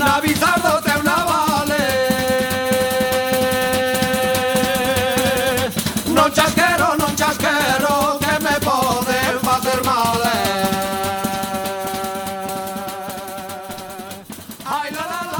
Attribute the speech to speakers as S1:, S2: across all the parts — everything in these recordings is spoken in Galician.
S1: Na bizardo teu navale Non chasquero, non chasquero Que me poden facer mal eh. Ai, la, la, la.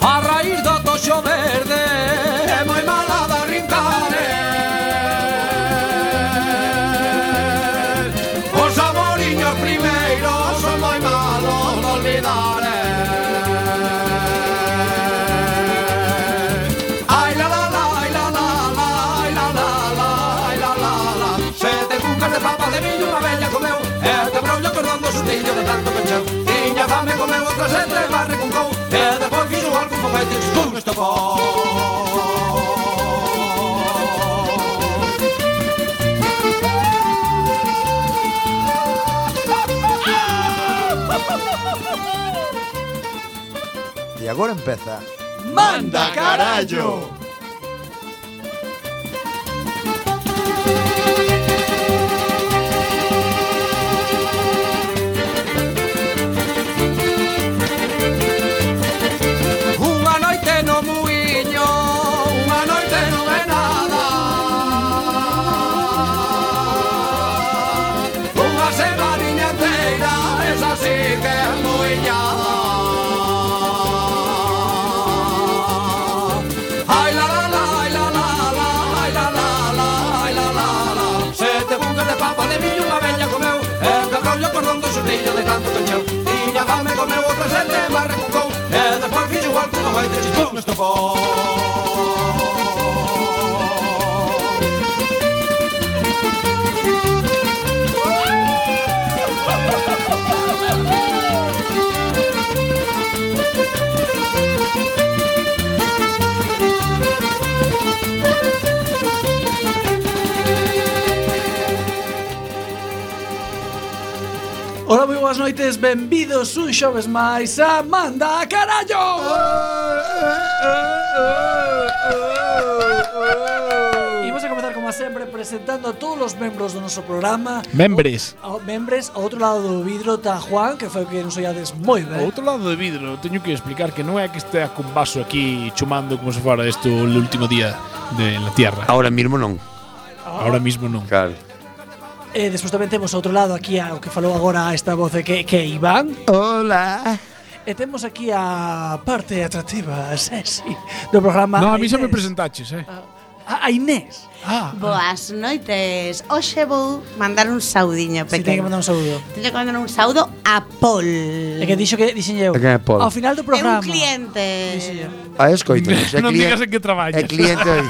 S1: A raíz do toxo verde É moi mala da rincare Os amoriños primeiros Son moi malos de olvidar eh. Ai la la la, ai la la la Ai la la la, ai la la la Sete cucas de papa de millo Unha bella comeu E te brollo cordón do sustillo De tanto pecheu Tiña fame comeu outra sete Mas recuncou E depois fixo algún foguete Pum, estopou
S2: E agora empeza
S1: Manda carallo. Unha noite no muiño, unha noite non é nada. Unha semaniña inteira, esa sí que é muiñada. Ai la la la, ai la la la, ai la la la, ai la la la. Sete bucas de papa de millo unha bella comeu, e que rollo cordón do xurrillo de tanto cancheu. Tiña fame comeu outra sete, mas recucou, e despois fixo igual que unha baita chispón estopou.
S3: Ola, moi boas noites, benvidos un xoves máis a Manda Carallo! Imos a comenzar, como sempre, presentando a todos os membros do noso programa.
S4: Membres.
S3: Ao- Membres, ao outro lado do vidro está Juan, que foi o que nos ollades moi
S4: O
S3: ben.
S4: outro lado do vidro, teño que explicar que non é que estea cun vaso aquí chumando como se fora isto o último día de la Tierra.
S5: Ahora mismo non
S4: Ahora mismo non.
S5: Claro
S4: Oh.
S3: E despois tamén temos ao outro lado aquí ao que falou agora esta voz que, que é Iván.
S6: Hola.
S3: E temos aquí a parte atractiva, sexy, do programa.
S4: No, a mí xa me
S3: Inés.
S4: presentaches, eh.
S3: A, a Inés.
S4: Ah,
S7: Boas noites. Hoxe vou mandar un saudiño
S3: Si tiene que
S7: pequeno.
S3: mandar un saludo.
S7: Teño que mandar un saudo a Pol.
S3: É que dixo que dixen eu.
S5: É que é Paul.
S3: Ao final do
S7: É un
S3: programa.
S7: cliente.
S3: Dixen eu.
S5: A escoito
S4: non digas en que traballas.
S5: É cliente hoy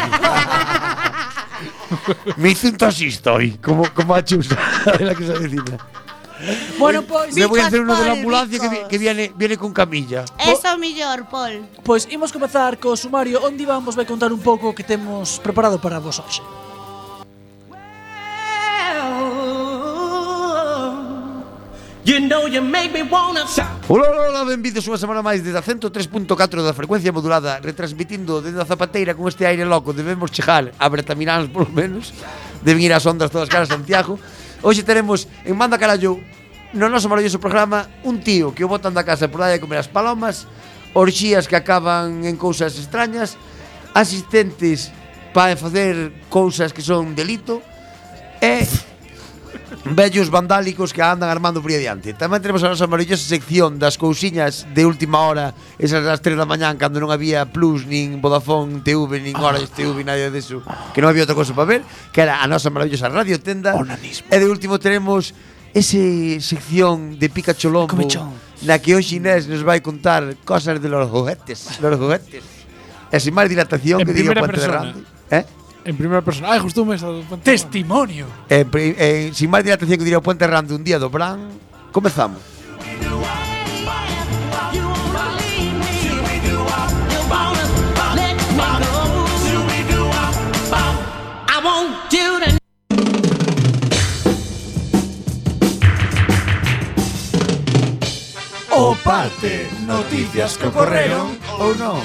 S5: Me hice un tosista hoy Como, como a chusa de la que se avecina
S3: Bueno, pues, pois
S5: Me voy
S7: Bicos
S5: a hacer uno de la
S7: por
S5: ambulancia que, vi-
S7: bicos.
S5: que viene, viene con camilla
S7: Es o mellor, Pol.
S3: pois pues, imos comezar co sumario onde Iván vos vai contar un pouco o que temos preparado para vos hoxe.
S1: You know you make me wanna shout.
S5: Ola, ola, ola, benvidos unha semana máis desde a 103.4 da frecuencia modulada Retransmitindo desde a Zapateira con este aire loco Debemos chejar a Bretaminanos, polo menos De vir as ondas todas caras a Santiago Hoxe teremos en Manda Carallo No noso maravilloso programa Un tío que o botan da casa por darlle a comer as palomas Orxías que acaban en cousas extrañas Asistentes para facer cousas que son delito E vellos vandálicos que andan armando por aí adiante. Tamén tenemos a nosa maravillosa sección das cousiñas de última hora, esas das 3 da mañán, cando non había Plus, nin Vodafone TV, nin Orange TV, nada deso, que non había outra cosa para ver, que era a nosa maravillosa radio tenda.
S3: Onanismo.
S5: E de último tenemos ese sección de Pica Cholombo,
S3: Comechón.
S5: na que hoxe Inés nos vai contar cosas de los juguetes, los juguetes. E sin máis dilatación,
S4: En
S5: que digo,
S4: primera
S5: Puente de
S4: persona.
S5: Rande. Eh?
S4: En primera persona. Ay, justo me he estado.
S3: Testimonio.
S5: Eh, pri- eh, sin máis dilatación que diría o Puente Rando un día do Bran, comezamos.
S3: O
S2: parte, noticias que ocorreron ou non.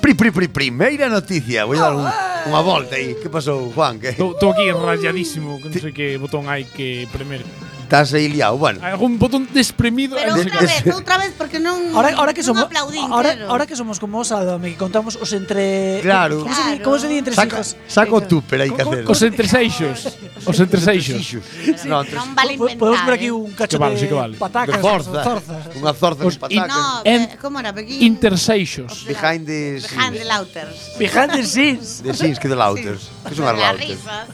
S5: Pri, pri, pri, primeira noticia. Voy a dar un, unha volta aí. Que pasou, Juan? Que
S4: Todo aquí rayadísimo. que No sé qué botón hay que premer.
S5: estás aí liado. Bueno,
S4: Hay algún botón despremido. e
S7: Pero
S5: Pues,
S4: Ay, no sé
S7: outra vez, outra vez, porque non,
S3: Ahora, ahora que
S7: non
S3: somos
S7: aplaudín,
S3: ahora,
S7: claro.
S3: ahora que somos como Sálvame, que contamos os entre
S5: Claro.
S3: Como se di,
S7: Claro.
S3: como se di entre
S5: saco,
S3: hijos?
S5: saco tú, pero hai que hacer.
S4: Os entreseixos. Os entreseixos.
S5: Xixos.
S7: non,
S5: Non, tres-
S7: vale inventar.
S3: Po- Pues, Podemos ver aquí
S7: eh.
S3: un cacho
S4: Que vale,
S3: de
S4: sí que vale.
S3: patacas,
S5: de zorza.
S3: zorzas.
S5: Unha zorza con
S4: Os in-
S5: patacas.
S7: No,
S4: En-
S7: eh, como era? Pekín?
S4: Interseixos.
S5: Behind the
S7: Behind the
S5: scenes.
S7: lauters.
S3: Behind the scenes.
S5: De sins que de lauters. Que son as
S7: Las
S5: lauters.
S7: risas.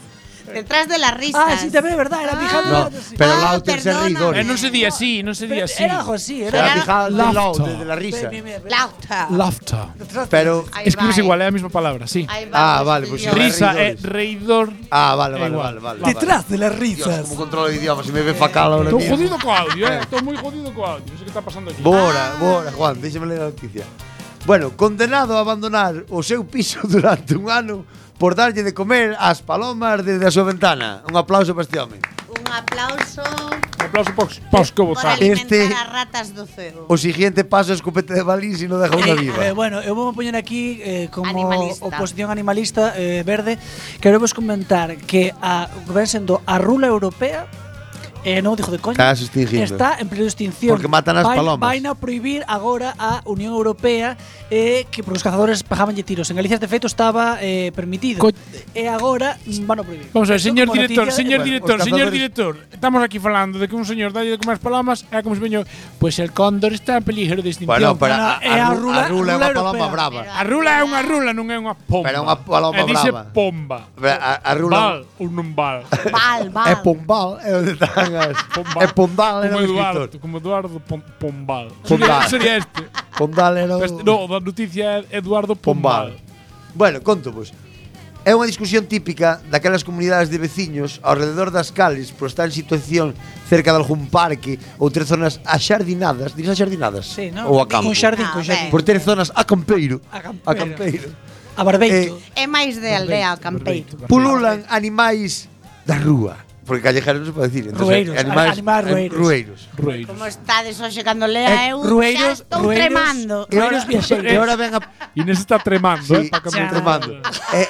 S7: Detrás de las risas.
S3: Ah, sí, tamén é verdade, era behind the
S5: No,
S3: lauters, sí.
S5: pero
S7: Ah,
S5: lauters é
S7: perdóname.
S5: rigor.
S4: Eh, non se di así, non se di
S3: Pero
S4: así.
S3: Era algo así,
S5: Era
S3: era.
S7: Era-
S5: fijada de
S4: Laughter.
S5: lauters, de la risa.
S3: Mira, mira, mira.
S7: Lauta.
S4: Laughter.
S5: Pero...
S7: Ahí
S4: Escribes
S7: va, eh.
S4: igual, é a mesma palabra,
S3: eh.
S4: sí.
S7: Ahí va,
S5: Ah, vale, pues...
S7: estudió.
S5: era
S4: Risa é
S5: rigores.
S4: reidor.
S5: Ah, vale, vale,
S4: Igual.
S5: vale. vale, vale.
S3: Detrás de las
S5: Dios,
S3: risas.
S5: como controlo de idioma, se me ve facal ahora
S4: Estou
S5: mismo.
S4: jodido co audio, eh. Estou moi jodido co audio. Non sei que está pasando aquí.
S5: Bora, bora, Juan, déxame ler a noticia. Bueno, condenado a abandonar o seu piso durante un ano por darlle de comer ás palomas desde a súa ventana. Un aplauso para este home.
S7: Un aplauso
S4: Un aplauso pos, pos que
S7: por
S4: votar.
S7: alimentar
S5: Este-
S7: a ratas do ceo.
S5: O siguiente paso é escopeta de balín se non deja unha viva.
S3: Eh, bueno, eu vou poñer aquí eh, como
S7: Animalista.
S3: oposición animalista eh, verde Quero vos comentar que a, o que ven sendo a rula europea Eh, non o dijo de coña
S5: Está extinguindo.
S3: Está en peligro de extinción
S5: Porque matan as
S3: Vai-
S5: palomas.
S3: Vaina prohibir agora a Unión Europea eh, Que porque os cazadores pegabanlle tiros En Galicia este feito estaba eh, permitido
S4: Co-
S3: E agora mm, van a prohibir
S4: Vamos a ver, señor
S3: Como
S4: director,
S3: noticia de-
S4: señor
S5: bueno,
S4: director,
S5: os
S4: señor
S5: cazadores-
S4: director. Estamos aquí falando de que un señor dalle de comer as palomas é como se veño, pois el cóndor está en peligro de extinción. eh,
S5: Bueno, pero a,
S3: Bueno, é
S5: a,
S3: a
S5: ru-
S3: rula-
S5: a rula é
S3: rula
S5: unha paloma
S3: europea.
S5: brava.
S4: A rula é unha rula, non é unha pomba.
S5: Pero é unha paloma
S4: E dice
S5: brava.
S4: pomba.
S5: Pero A, a rula
S4: Val ou non val.
S7: Val, val.
S5: é pombal, é onde están as...
S4: Pomba.
S5: É pondal, era
S4: como
S5: o
S4: Eduardo,
S5: escritor.
S4: como Eduardo Pom- Pombal.
S5: Pombal.
S4: Sería este.
S5: Pondal era o...
S4: Este- No, da noticia é Eduardo
S5: Pombal.
S4: Pombal.
S5: Bueno, conto vos. É unha discusión típica daquelas comunidades de veciños ao redor das cales por estar en situación cerca de algún parque ou ter zonas axardinadas, dirás axardinadas?
S3: Sí, no?
S5: Ou a campo.
S3: Con xardín, con
S7: Ah,
S3: xardín
S5: Por ter zonas a campeiro.
S3: A campeiro.
S5: A campeiro.
S3: A barbeito
S5: eh,
S7: É máis de aldea ao campeito.
S5: Pululan animais da rúa. Porque callejeros non se pode decir. Entonces,
S3: Rueiros, animais
S5: eh,
S3: rueiros.
S5: rueiros.
S4: Rueiros.
S7: Como estades hoxe cando
S5: Eh,
S7: lea eu xa
S3: Rueiros,
S7: estou
S3: rueiros,
S7: tremando.
S3: E ahora-
S5: E ahora ven a...
S4: Inés está tremando,
S5: Sí,
S4: eh, pa cambiar.
S5: tremando. Eh, eh,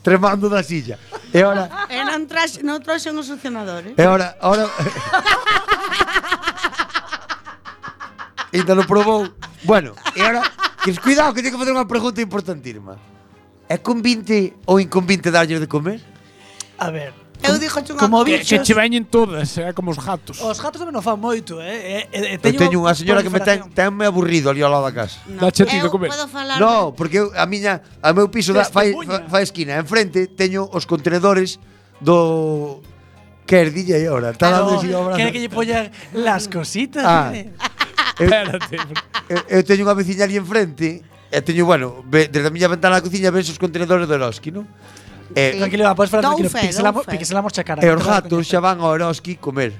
S5: tremando da silla. E ahora...
S7: E non, traxe, eh? non trouxen os succionadores.
S5: E ora, ora Ainda non probou Bueno, e ora que Cuidado que teño que facer unha pregunta importantísima É convinte ou inconvinte darlle de comer?
S3: A ver
S7: Eu dixo unha
S3: Como
S7: cousa.
S4: Que, que
S3: bichos
S4: che veñen todas, eh, como os gatos.
S3: Os gatos tamén o fan moito, eh? E- e- e
S5: Eu teño unha señora que me ten,
S3: proliferación.
S5: tenme aburrido ali ao lado da casa
S7: No,
S4: Dache ti de
S7: eu
S4: comer.
S7: podo falar
S5: No, Ah, porque eu- a miña, a meu piso da, fai,
S3: Testemunha.
S5: fa- fai esquina Enfrente teño os contenedores do... Que erdilla aí ahora Está dando así o brazo
S3: Quere que lle poñan las cositas.
S5: Ah.
S3: eh?
S5: Eu-
S4: Espérate.
S5: eu, eu teño unha veciña ali enfrente e teño, bueno, ve, desde a miña ventana da cociña ves os contenedores do Eroski, non? E,
S7: Sí.
S3: Tranquilo, va, podes falar
S7: Don't
S3: tranquilo.
S7: fair,
S3: Pixelamos,
S7: don't fair.
S3: pixelamos a cara.
S5: e os gatos xa van ao Eroski comer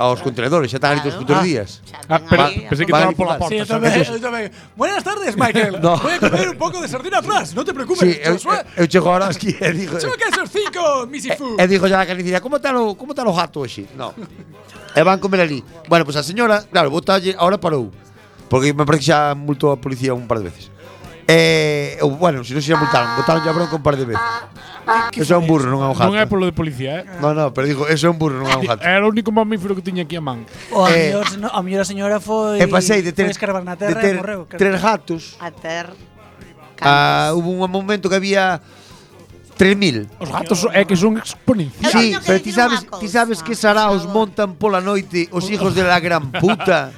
S5: aos contenedores, xa están ali todos os putos
S7: Ah.
S5: días.
S7: Xa ten
S4: Ah, pero,
S7: aí a
S4: pensei que
S5: Vale,
S4: estaba pola
S5: vale.
S3: Sí, yo
S4: porta. xa.
S3: tamén, eu tamén. Buenas tardes, Michael.
S5: No.
S3: Voy a comer un pouco de sardina atrás. No te preocupes,
S5: Sí, eh, eu, eu,
S3: Joshua.
S5: eu chego ao Eroski e digo...
S3: Chama que esos cinco, Missy
S5: E,
S3: Fu.
S5: e dixo xa a carnicera, como tal o, como tal o gato hoxe? No. e van comer ali. Bueno, pois pues a señora, claro, botalle, ahora parou. Porque me parece que xa multou a policía un par de veces. Eh, ou, bueno, se non se xa multaron, botaron a bronca un par de veces.
S3: Ah,
S5: Eso é un burro, non é un
S4: Non é
S5: gato.
S4: polo de policía, eh?
S5: No, no, pero digo, eso é un burro, non é un gato.
S4: Era o único mamífero que tiña aquí a man.
S3: O a,
S5: Eh,
S3: mellor, no, a mellor a señora foi
S5: E pasei de ter,
S3: foi escarbar na
S5: de
S3: terra
S5: ter
S3: e morreu. claro.
S5: tres gatos
S7: A ter.
S5: a, hubo un momento que había 3000.
S4: Os gatos é que son exponenciales.
S7: teño
S5: Sí,
S7: que
S5: pero ti
S7: dicir
S5: sabes,
S7: unha
S5: ti
S7: cousa,
S5: sabes que
S7: por
S5: saraos
S7: favor.
S5: montan pola noite os hijos de la gran puta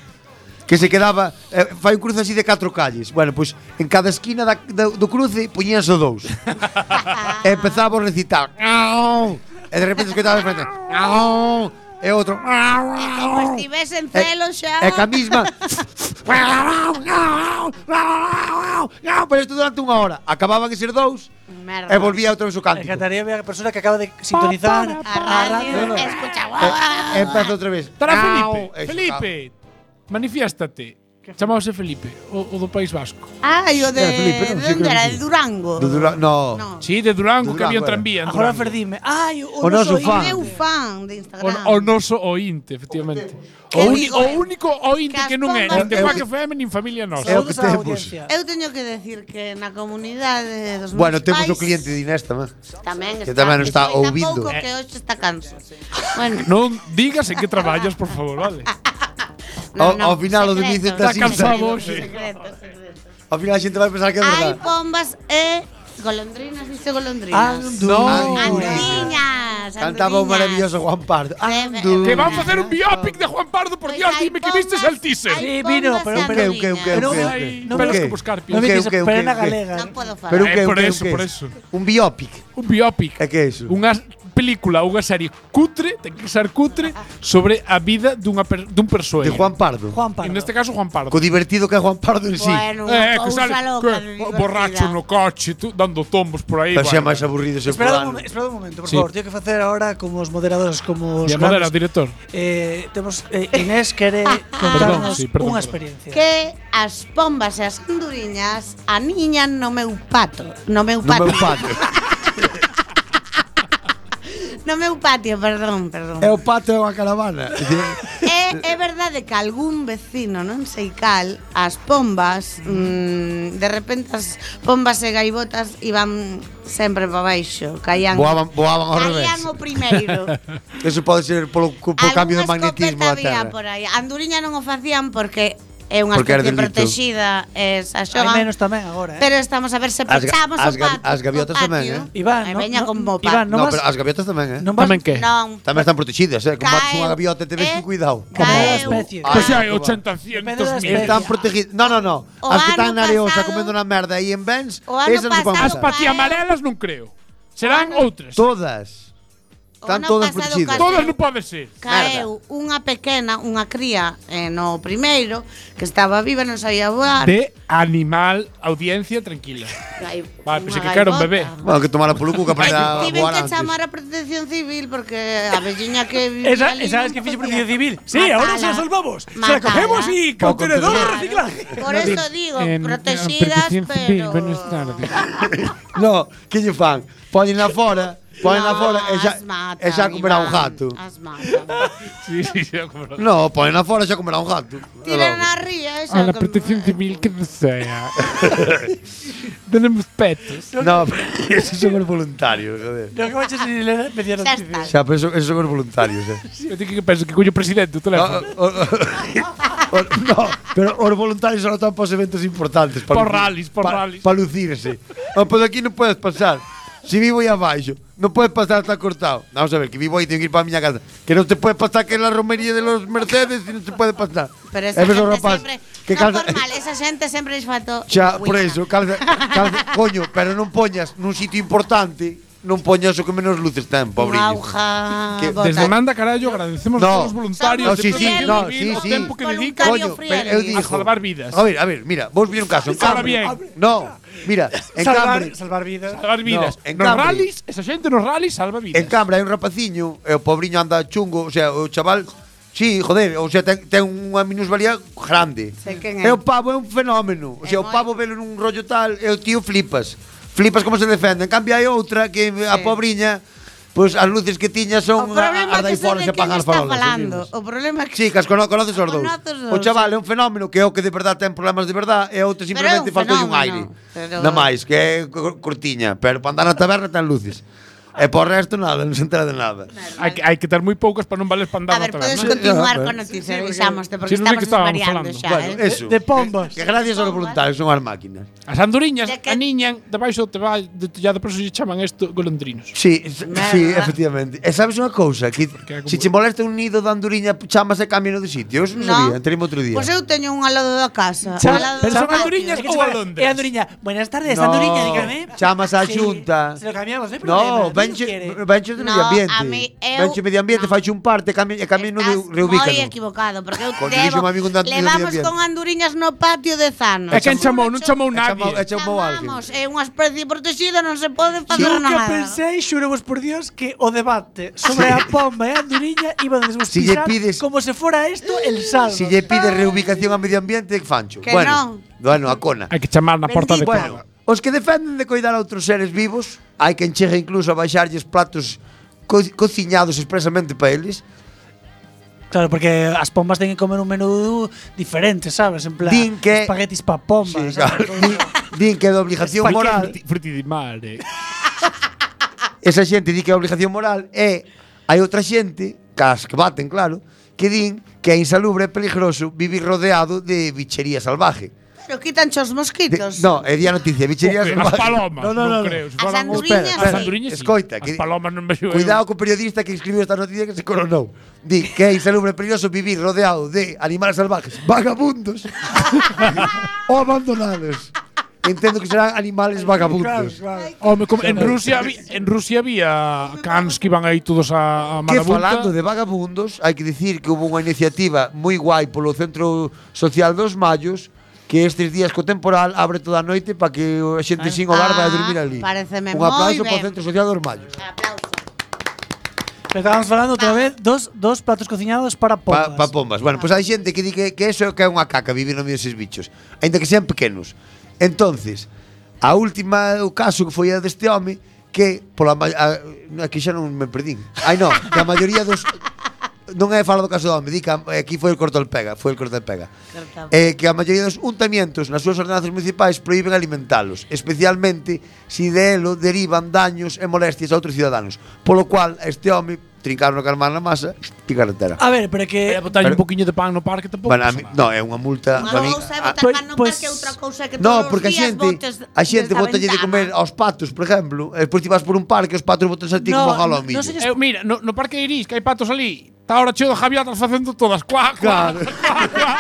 S5: que se quedaba eh, fai un cruce así de catro calles. Bueno, pois en cada esquina da, da, do cruce poñíanse dous. e empezaba a recitar. "Au", e de repente escoitaba de frente. "Au", e outro. "Au",
S7: Como estivese en celo xa.
S5: E ca mesma Pero isto durante unha hora Acababan de ser dous
S7: Merda.
S5: E volvía outra vez o
S3: Me
S5: cántico
S3: encantaría ver a persona que acaba de
S7: A
S3: sintonizar
S5: Ah,
S7: radio.
S3: radio.
S7: Escucha.
S5: E empeza outra vez
S4: Estará
S5: Au,
S4: Felipe.
S5: e iso,
S4: Felipe, manifiéstate. Chamábase Felipe, o, o do País Vasco.
S7: Ai, o de...
S5: Espera, Felipe, non,
S7: de
S5: sí que
S7: onde era?
S5: non
S7: De Durango.
S5: Do Dura- no.
S7: No.
S4: Sí, de Durango,
S5: De
S4: que había un
S5: Durango,
S4: tranvía. en
S3: Agora
S4: Durango.
S3: perdime. Ai, o,
S5: O noso fan.
S7: Meu fan de
S4: O,
S7: Instagram.
S4: o noso ointe, efectivamente. O,
S7: Que
S4: uni-
S7: digo,
S4: o único ointe que non é nin de
S7: Que
S4: Quack
S5: as
S4: FM nin Familia Nosa.
S5: É o
S3: Saúdos
S5: que
S3: á
S5: temos.
S3: audiencia.
S7: Eu teño que decir que na comunidade dos meus
S5: Bueno, temos
S7: pais
S5: o cliente de Inés tamén
S7: tamén
S5: que tamén nos está
S7: Foi
S5: ouvindo.
S7: tampouco que hoxe está canso. Bueno,
S4: Non digas en que traballas, por favor, vale?
S5: ao- ao final o de
S7: secreto,
S5: Vicente
S4: Está cansado hoxe.
S7: secreto, secreto.
S5: Ao final a xente vai pensar que é
S7: Hai
S5: verdade
S7: pombas e golondrinas, dice golondrinas.
S3: Andu.
S7: Andiñas,
S5: Cantaba o maravilloso Juan Pardo Andu
S4: Que van facer un biopic de Juan Pardo,
S7: Pues Pois
S4: por Dios, dime que vistes el teaser.
S3: Sí, vino, pero-
S5: pero-
S3: Pero non
S5: Ok,
S3: me,
S5: ok.
S3: non
S4: Pelos
S3: me,
S4: que buscar,
S3: non me
S5: ok,
S3: quise,
S5: ok, ok,
S3: pero na
S5: ok.
S3: galega.
S7: Non podo falar.
S5: Pero o
S4: Eh,
S5: que, o
S4: por
S5: que, o
S4: eso,
S5: que
S4: por
S5: es?
S4: eso.
S5: Un biopic
S4: Un biopic.
S5: É que é iso?
S4: Unha película, unha serie cutre, ten que ser cutre, sobre a vida dunha per, dun persoeiro.
S5: De Juan Pardo
S3: Juan Pardo.
S4: En este caso, Juan Pardo.
S5: Co divertido que é Juan Pardo en sí
S7: Bueno,
S4: Eh, que
S7: cousa
S4: sale
S7: loca
S4: que,
S7: de
S4: borracho
S7: divertida.
S4: no coche, tú, dando tombos por aí.
S5: Pero xa
S4: bueno.
S5: máis aburrido ese
S3: Esperad un,
S5: fulano
S3: momen- esperad un momento, por
S4: Sí.
S3: favor. Tengo que hacer ahora como os moderadores, como os
S4: Ya,
S3: grandes.
S4: modera, director.
S3: Eh, temos, eh, Inés
S7: Ah,
S3: quere contarnos
S4: sí, perdón,
S3: unha
S4: perdón.
S3: experiencia.
S7: que as pombas e as anduriñas aniñan no meu pato, no meu
S5: No
S7: patio,
S5: meu pato
S7: no meu patio, perdón, perdón.
S5: É o pato é unha caravana
S7: É, é verdade que algún vecino, non sei cal, as pombas, mm, de repente as pombas e gaivotas iban sempre para baixo, caían.
S5: Voaban, voaban ao revés
S7: caían o primeiro.
S5: Eso pode ser polo, cu- polo cambio de
S7: Algunha
S5: magnetismo
S7: escopeta
S5: da
S7: había
S5: Terra.
S7: por aí. A Anduriña non o facían porque é unha
S5: Porque era
S7: especie
S5: delito.
S7: protegida, eh, xa
S3: Hai
S7: xogan.
S3: menos tamén agora, eh.
S7: Pero estamos a ver se
S5: As ga-
S7: pechamos
S5: as
S7: o
S5: ga-
S7: patio.
S5: as gaviotas
S7: o patio.
S5: tamén, eh?
S3: Iván,
S7: Ai,
S3: no-
S7: veña
S3: no-
S7: con mopa.
S3: Iván,
S5: No,
S3: Non vas-
S5: pero as gaviotas tamén, eh?
S3: Non vas-
S4: Tamén que?
S7: non.
S5: Tamén están protegidas, eh? Como bates
S7: Caeu.
S5: unha gaviota e te ves
S7: Eh,
S5: con cuidado.
S3: Como
S7: caeu,
S3: a especie.
S5: Ah,
S4: Pois
S7: caeu.
S4: hai 800
S3: Depende da
S4: mil.
S3: especie.
S5: Están protegidas. No, no, no.
S7: O
S5: as
S7: ano
S5: que están na areosa
S7: pasado-
S5: comendo unha merda aí en Benz,
S7: O ano
S5: esas non van
S7: pasado
S4: As
S5: pasar.
S4: patiamarelas non creo. Serán outras.
S5: Todas.
S7: O
S5: Están
S7: ano
S5: todas
S7: pasado
S5: protegidas.
S7: caeu-
S4: Todas non pode ser.
S7: Caeu unha pequena, unha cría eh, no primeiro, que estaba viva, non sabía voar.
S4: De animal, audiencia tranquila.
S7: Gai-
S4: Vale,
S7: unha
S4: pensei que era un
S7: gaivota.
S4: bebé.
S5: Bueno, que tomara polo cu que aprenda a
S7: Tiven
S5: voar
S7: que
S5: antes.
S7: chamar a protección civil porque a velliña que vivía
S3: Esa,
S7: ali
S3: esa
S7: non
S3: es que fixe
S7: podía.
S3: protección civil. Sí,
S7: Matala.
S3: ahora se la salvamos. Se la
S7: Matala.
S3: cogemos y
S5: Con
S3: contenedor de
S7: Claro.
S3: reciclaje.
S7: Por eso digo, protegidas, pero...
S5: No, que lle fan? Ponen na fora, ponen
S7: No,
S5: na fora e
S7: as
S5: xa,
S7: matan,
S5: e xa comerá
S7: Iván,
S5: un gato.
S7: As matan.
S4: Sí, sí, sí. eu compro.
S5: No, ponen na fora e xa comerá un gato.
S7: Tiran a ría e xa...
S4: A la
S7: com-
S4: protección civil que desea. Tenemos petos.
S5: No, pero esos son os voluntarios, joder.
S3: Lo que vayas a leer media
S7: Xa está.
S3: noticia.
S5: Xa, pero eso- esos son os voluntarios, eh.
S4: Eu digo que penso que coño presidente o
S5: No,
S4: teléfono.
S5: o- o- o- ah, no, pero os voluntarios só están para os eventos importantes. Para
S4: Por rallies, por rallies.
S5: Para lucirse. No, pues aquí non podes pasar. Si vivo aí abaixo, non podes pasar, está cortado. Vamos a ver, que vivo aí, tengo que ir para a miña casa. Que non te podes pasar, que é la romería de los Mercedes e non te pode pasar.
S7: Pero
S5: E
S7: esa
S5: ves o
S7: xente
S5: Eh, rapaz
S7: sempre...
S5: que
S7: no,
S5: calza-
S7: formal, esa xente sempre disfatou...
S5: Xa, por eso, calza, calza, coño, pero non poñas nun sitio importante, non poñas o que menos luces ten,
S7: Pobre.
S5: pobre.
S7: Auja...
S5: Que
S7: bota.
S4: Desde Manda Carallo agradecemos
S5: No.
S4: a todos os voluntarios
S5: No,
S4: de
S5: sí, sí,
S4: protección
S5: no,
S4: civil
S5: sí,
S4: o
S5: sí.
S4: tempo que dedican
S7: Voluntario
S5: Coño,
S7: Friendly.
S5: pero eu digo-
S4: a salvar vidas.
S5: A ver, a ver, mira, vos vi un caso. en
S4: Ahora
S5: Cambre.
S4: bien.
S5: No, mira, en Cambre,
S3: Salvar, salvar vidas.
S4: Salvar vidas.
S5: en
S4: nos
S5: cambio-
S4: rallies, esa xente nos rallies salva vidas.
S5: En Cambra hai un rapaciño, e o pobriño anda chungo, o sea, o chaval Sí, joder, o sea, ten, ten unha minusvalía grande.
S7: Sei quen é.
S5: E o pavo é un fenómeno. O
S7: É
S5: sea, o
S7: moi-
S5: pavo velo nun rollo tal e o tío flipas. Flipas como se defende. En cambio hai outra que a pobriña Pois as luces que tiña
S7: O
S5: son
S7: problema
S5: as
S7: que
S5: dai
S7: son
S5: fora
S7: de
S5: se
S7: quen
S5: apagan as
S7: está
S5: farolas.
S7: falando.
S5: así,
S7: O problema é que...
S5: Sí, que as cono- conoces os dous.
S7: Conoces os
S5: O
S7: dous,
S5: chaval é un fenómeno que é o que de verdade ten problemas de verdade e outro
S7: Pero é un
S5: simplemente faltou un
S7: fenómeno,
S5: aire.
S7: pero-
S5: Nada máis, que é co- cortiña, pero para andar na taberna ten luces. E por resto nada, non se entera de nada.
S4: Hai que, hai que ter moi poucas para non valer para
S7: A
S4: andar
S7: ver,
S4: outra
S7: podes
S4: vez.
S7: continuar
S5: Sí,
S7: con noticias, avisámoste, porque
S4: Sí, non é
S7: estamos
S4: que estábamos
S7: variando
S4: falando.
S7: xa,
S5: Bueno,
S7: eh.
S5: eso.
S3: De pombas.
S5: Que gracias aos voluntarios, son as máquinas.
S4: As andoriñas
S7: De que-
S4: aniñan debaixo do teba- do tellado, por eso lle chaman isto golondrinos.
S5: Sí, s- sí, efectivamente. E sabes unha cousa? Que
S4: é como-
S5: se che molesta un nido de anduriña, chamas e cambian de sitio. Eu non sabía, entremos outro día.
S7: Pois eu teño un al lado da casa.
S3: Chama-
S7: al lado do
S3: pero son
S7: patio.
S3: Es
S4: anduriñas
S3: que
S4: ou
S3: chama-
S4: a
S3: É
S4: Londres?
S3: eh, anduriña. Buenas tardes,
S5: No,
S3: anduriña, dígame.
S5: chamas á
S3: Sí,
S5: Xunta.
S3: Se lo cambiamos, no hay problema.
S5: No,
S3: No,
S5: venche, venche do
S7: No,
S5: medio ambiente.
S7: a mí- eu-
S5: venche medio ambiente,
S7: no.
S5: fai un parte, cambian e cambian
S7: Estás
S5: no reubican.
S7: moi equivocado, porque eu
S5: Coño,
S7: debo...
S5: dixo un amigo un dante do
S7: Levamos
S5: medio ambiente.
S7: con anduriñas no patio de eh, Zano.
S4: É quen chamou, non chamou nadie.
S5: chamou alguén.
S7: Chamamos, é unha especie protexida, non se pode facer
S3: Yo que
S7: nada.
S3: pensei, xuremos por Dios, que o debate sobre a pomba e a anduriña iba a
S5: Si lle
S3: pisar
S5: pides-
S3: como se fora isto el saldo.
S5: Si lle pide reubicación a medio ambiente, fancho.
S7: Que
S5: bueno, bueno, a cona.
S4: Hai que chamar na porta de
S5: Bueno,
S4: casa.
S5: os que defenden de coidar a outros seres vivos, hai que enchega incluso a baixarlles platos co cociñados expresamente para eles.
S3: Claro, porque as pombas ten que comer un menú diferente, sabes? En plan,
S5: Din que-
S3: espaguetis pa pombas.
S5: Sí,
S3: sabes?
S5: claro. Din- Din que é de obligación
S3: Espagueti.
S5: moral.
S4: Fruti- Fruti di eh. mare.
S5: Esa xente di que é obligación moral e hai outra xente, cas que baten, claro, que din que é insalubre e peligroso vivir rodeado de bichería salvaje.
S7: Pero quitanche os
S5: De,
S7: mosquitos.
S5: no, é día noticia, bichería
S4: As
S5: salvaje.
S4: palomas,
S5: No, no,
S4: non
S5: no, no.
S4: creo. se
S7: As
S4: falan-
S7: anduriñas,
S5: Espera,
S4: As
S5: espera.
S4: anduriñas, sí.
S5: Escoita,
S4: As
S5: que-
S4: palomas non vexo. eu.
S5: Cuidado co periodista que escribiu esta noticia que se coronou. Di que é insalubre e peligroso vivir rodeado de animales salvajes, vagabundos ou abandonados. Entendo que serán animales vagabundos.
S4: Home, como en Rusia había, en Rusia había cans que iban aí todos a, a
S5: Que
S4: marabunta.
S5: falando de vagabundos, hai que dicir que houve unha iniciativa moi guai polo Centro Social dos Mallos que estes días co temporal abre toda a noite para que a xente sin hogar vai a dormir ali.
S7: Ah, paréceme
S5: Un aplauso
S7: moi
S5: para o
S7: ben.
S5: Centro Social dos Mallos.
S7: Aplausos.
S3: Pero estábamos falando outra vez dos, dos platos cociñados para pombas.
S5: Pa, pa pombas. Bueno, pois pues hai xente que di que, que eso é que é unha caca vivir no medio deses bichos, aínda que sean pequenos. Entonces, a última o caso que foi a deste home que pola ma- a, aquí xa non me perdín. Ai non, que a maioría dos non é falo do caso do home, di que a- eh, aquí foi o corto el pega, foi o corto el pega.
S7: Corta.
S5: Eh, que a maioría dos untamientos nas súas ordenanzas municipais proíben alimentalos, especialmente se de elo derivan daños e molestias a outros ciudadanos, polo cual a este home trincaron a carmar na masa e carretera.
S3: A ver, pero que...
S4: Vai a botar
S5: Pero-
S4: un poquinho de pan no parque tampouco.
S5: Bueno, a
S4: pasa
S5: mí,
S4: nada.
S5: no, é unha multa.
S7: Unha
S5: para mí,
S7: cousa é
S5: a-
S7: botar
S3: Pois-
S7: pan no
S3: pois-
S7: parque, outra cousa é que todos
S5: No,
S7: os
S5: porque a
S7: días
S5: xente,
S7: botes
S5: a xente
S7: desde
S5: botalle de
S7: ventana.
S5: comer aos patos, por exemplo, e despois ti vas por un parque e os patos botan a ti
S3: No,
S5: como galo
S3: no
S5: ao millo.
S3: sei
S4: Eu, Eh, mira, no, no parque de Iris, que hai patos ali, está ahora cheo de javiotas facendo todas cuá, cuá,
S5: Claro.
S4: cuá, cuá.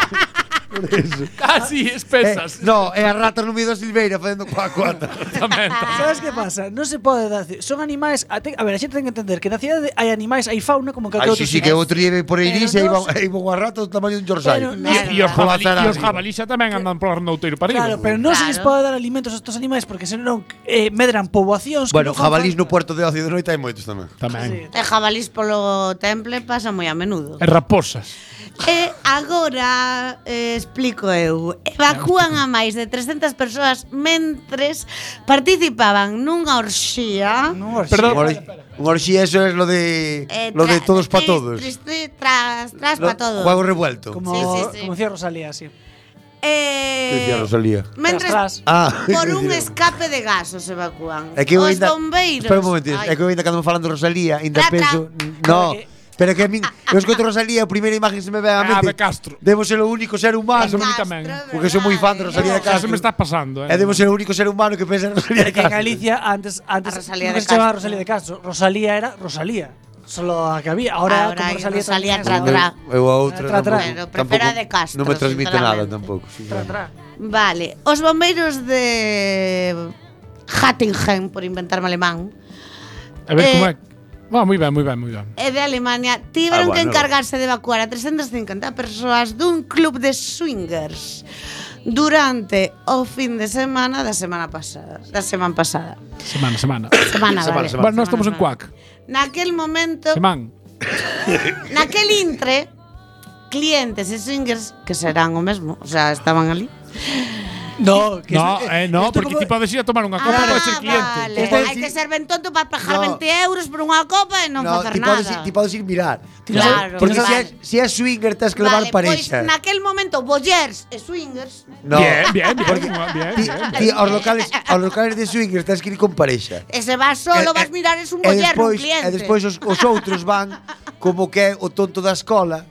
S4: Casi
S5: Eh,
S4: espesas.
S5: no, é a rata no medio da silveira facendo coa cuata.
S4: Tamén.
S3: Sabes que pasa? Non se pode dar. Son animais, a, te- a ver, a xente ten que entender que na cidade hai animais, hai fauna como en calquer
S5: Ai,
S3: outro
S5: si, si, que
S3: sitio.
S5: outro día por aí
S3: Pero
S5: dice, e iba,
S3: non se-
S5: e iba unha rata do tamaño dun xorsaio.
S3: Pero
S7: non-
S4: E os
S5: Pola
S4: jabalí, e
S5: zara
S4: os
S5: arriba.
S4: jabalí xa tamén andan pola Arnouteiro para arriba.
S3: Claro, pero non se les
S7: Claro.
S3: pode dar alimentos a estos animais porque senón eh, medran poboacións que non
S5: Bueno,
S3: fan
S5: jabalís no
S3: falta.
S5: puerto de ocio de noite hai moitos tamén.
S4: Tamén.
S7: E jabalís polo temple pasa moi a menudo.
S4: E raposas.
S7: E agora eh, explico eu. Evacúan a máis de 300 persoas mentres participaban nunha orxía.
S3: Non, orxe.
S4: Perdón.
S5: Unha or- Unha orxía, eso é lo de lo de
S7: Eh, tra-
S5: todos pa
S7: tri-
S5: todos.
S7: tri- tras tras
S5: Lo-
S7: pa todos.
S5: Juego revuelto.
S3: Como,
S7: Sí, sí, sí.
S3: como decía Rosalía, sí.
S5: Que
S7: Eh,
S5: dicía Rosalía.
S7: mentres
S3: Tras, tras.
S5: Ah,
S7: por un
S5: dicía.
S7: escape de gasos evacúan.
S5: É que eu
S7: Os
S5: ainda,
S7: bombeiros.
S5: Espera un momento,
S7: Ai,
S5: é que eu ainda cando me falan de Rosalía, ainda
S7: Tra, tra.
S5: penso, no, pero que a min, eu escoito Rosalía, a primeira imagen que se me ve
S4: Eh,
S5: a
S4: Ah,
S5: mente.
S4: de Castro.
S5: Debo ser o único ser humano,
S4: Eso me-
S7: Castro,
S4: Ah, tamén,
S5: porque sou moi fan
S7: verdade.
S5: de Rosalía de
S4: Xa se
S5: Castro.
S4: me está pasando, eh.
S5: e debo ser o único ser humano que pensa en Rosalía de
S3: Porque en
S5: Castro.
S3: Galicia antes antes
S7: A Rosalía de
S3: non se llamaba
S7: Castro.
S3: Rosalía de Castro, Rosalía era Rosalía. Solo a que había, ahora,
S7: Ahora
S3: como
S7: hai
S3: Rosalía,
S7: Rosalía
S3: tamén
S7: tra,
S3: es-
S7: tra.
S5: Eu, eu a outra
S3: Tra, tra.
S5: tampouco-
S7: Pero prefiro a de
S5: tampouco-
S7: Castro,
S5: Non me transmite nada
S7: sinceramente.
S5: tampouco. sí,
S3: tra,
S5: claro.
S3: tra.
S7: Vale, os bombeiros de Hattingen, por inventarme alemán,
S4: A ver
S7: Eh,
S4: como é. Va, moi ben, moi ben, moi ben.
S7: e de Alemania tiveron
S5: Ah,
S7: que
S5: bueno.
S7: encargarse de evacuar a 350 persoas dun club de swingers durante o fin de semana da semana pasada, da semana pasada.
S4: Semana, semana.
S7: Semana, vale.
S4: Bueno, nós estamos en
S7: Semana, vale.
S4: Cuac.
S7: Naquel momento,
S4: Semán.
S7: naquel intre, clientes e swingers que serán o mesmo, o sea, estaban ali.
S3: No, que
S4: No,
S3: isto-
S4: eh, no,
S3: isto
S4: porque
S3: como-
S4: ti podes ir a tomar unha copa
S7: Ah,
S4: para ser cliente.
S7: vale.
S3: Isto
S7: Hai
S3: decir-
S7: que ser ben tonto para pagar
S5: No.
S7: 20 euros por unha copa e non
S5: no,
S7: facer
S5: ti
S7: nada.
S5: podes, ir- ti podes ir mirar.
S7: Claro,
S5: Porque
S7: vale.
S5: se é, se é swinger, tens que levar
S7: vale,
S5: parexa.
S7: Pois naquel momento bollers e swingers
S5: No.
S4: Bien, bien, bien, bien,
S5: Ti,
S4: bien.
S5: ti aos locales, aos locales de swingers tens que ir con parexa.
S7: e se vas solo
S5: E-
S7: vas
S5: e-
S7: mirar es un
S5: e
S7: boller
S5: despois,
S7: un cliente.
S5: E despois os, os outros van como que é o tonto da escola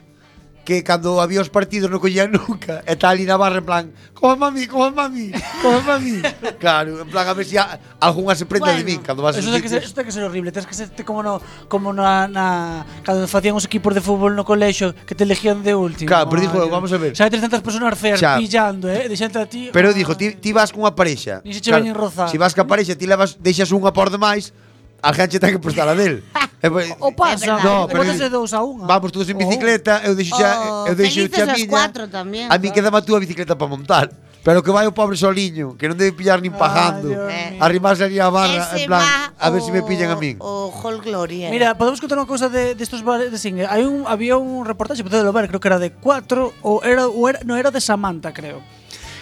S5: que cando había os partidos non collían nunca e tal ali na barra en plan como mami, como mami, como mami claro, en plan a ver se a, algunha se prenda de
S7: Bueno,
S5: min cando vas
S3: Eso
S5: aos
S3: ten que ser,
S5: sitios.
S3: eso ten que ser horrible, tens que ser este como no como na, na cando facían os equipos de fútbol no colexio que te elegían de último.
S5: Claro, pero dijo,
S3: Ay,
S5: vamos a ver.
S3: Xa tens tantas personas feas
S5: Xa.
S3: pillando, eh, deixante a ti.
S5: Pero
S3: ah,
S5: dijo, ti, ti vas cunha parexa.
S3: Ni se che veñen rozar.
S5: Si vas ca parexa, ti levas, deixas unha por demais, a gente ten que prestar a del. e, pois,
S3: O pasa,
S7: verdade.
S5: No, pero-
S3: bótase dous a unha.
S5: vamos todos pues, en bicicleta, eu deixo xa,
S7: Oh,
S5: eu deixo
S7: felices
S5: xa a
S7: os
S5: miña.
S7: cuatro pues. tamén,
S5: a mí
S7: claro.
S5: quedaba a túa bicicleta para montar. Pero que vai o pobre soliño, que non debe pillar nin
S3: Ay,
S5: pagando.
S3: Dios
S7: mío.
S5: Arrimarse ali a barra,
S7: Eh, Ese
S5: en plan,
S7: va oh,
S5: a ver se me
S7: o-
S5: pillan a min.
S7: O Hall eh. Gloria.
S3: Mira, podemos contar unha cousa de destos bares de Singer. Hai un había un reportaxe, podédelo ver, creo que era de 4 ou era, ou era no era de Samantha, creo.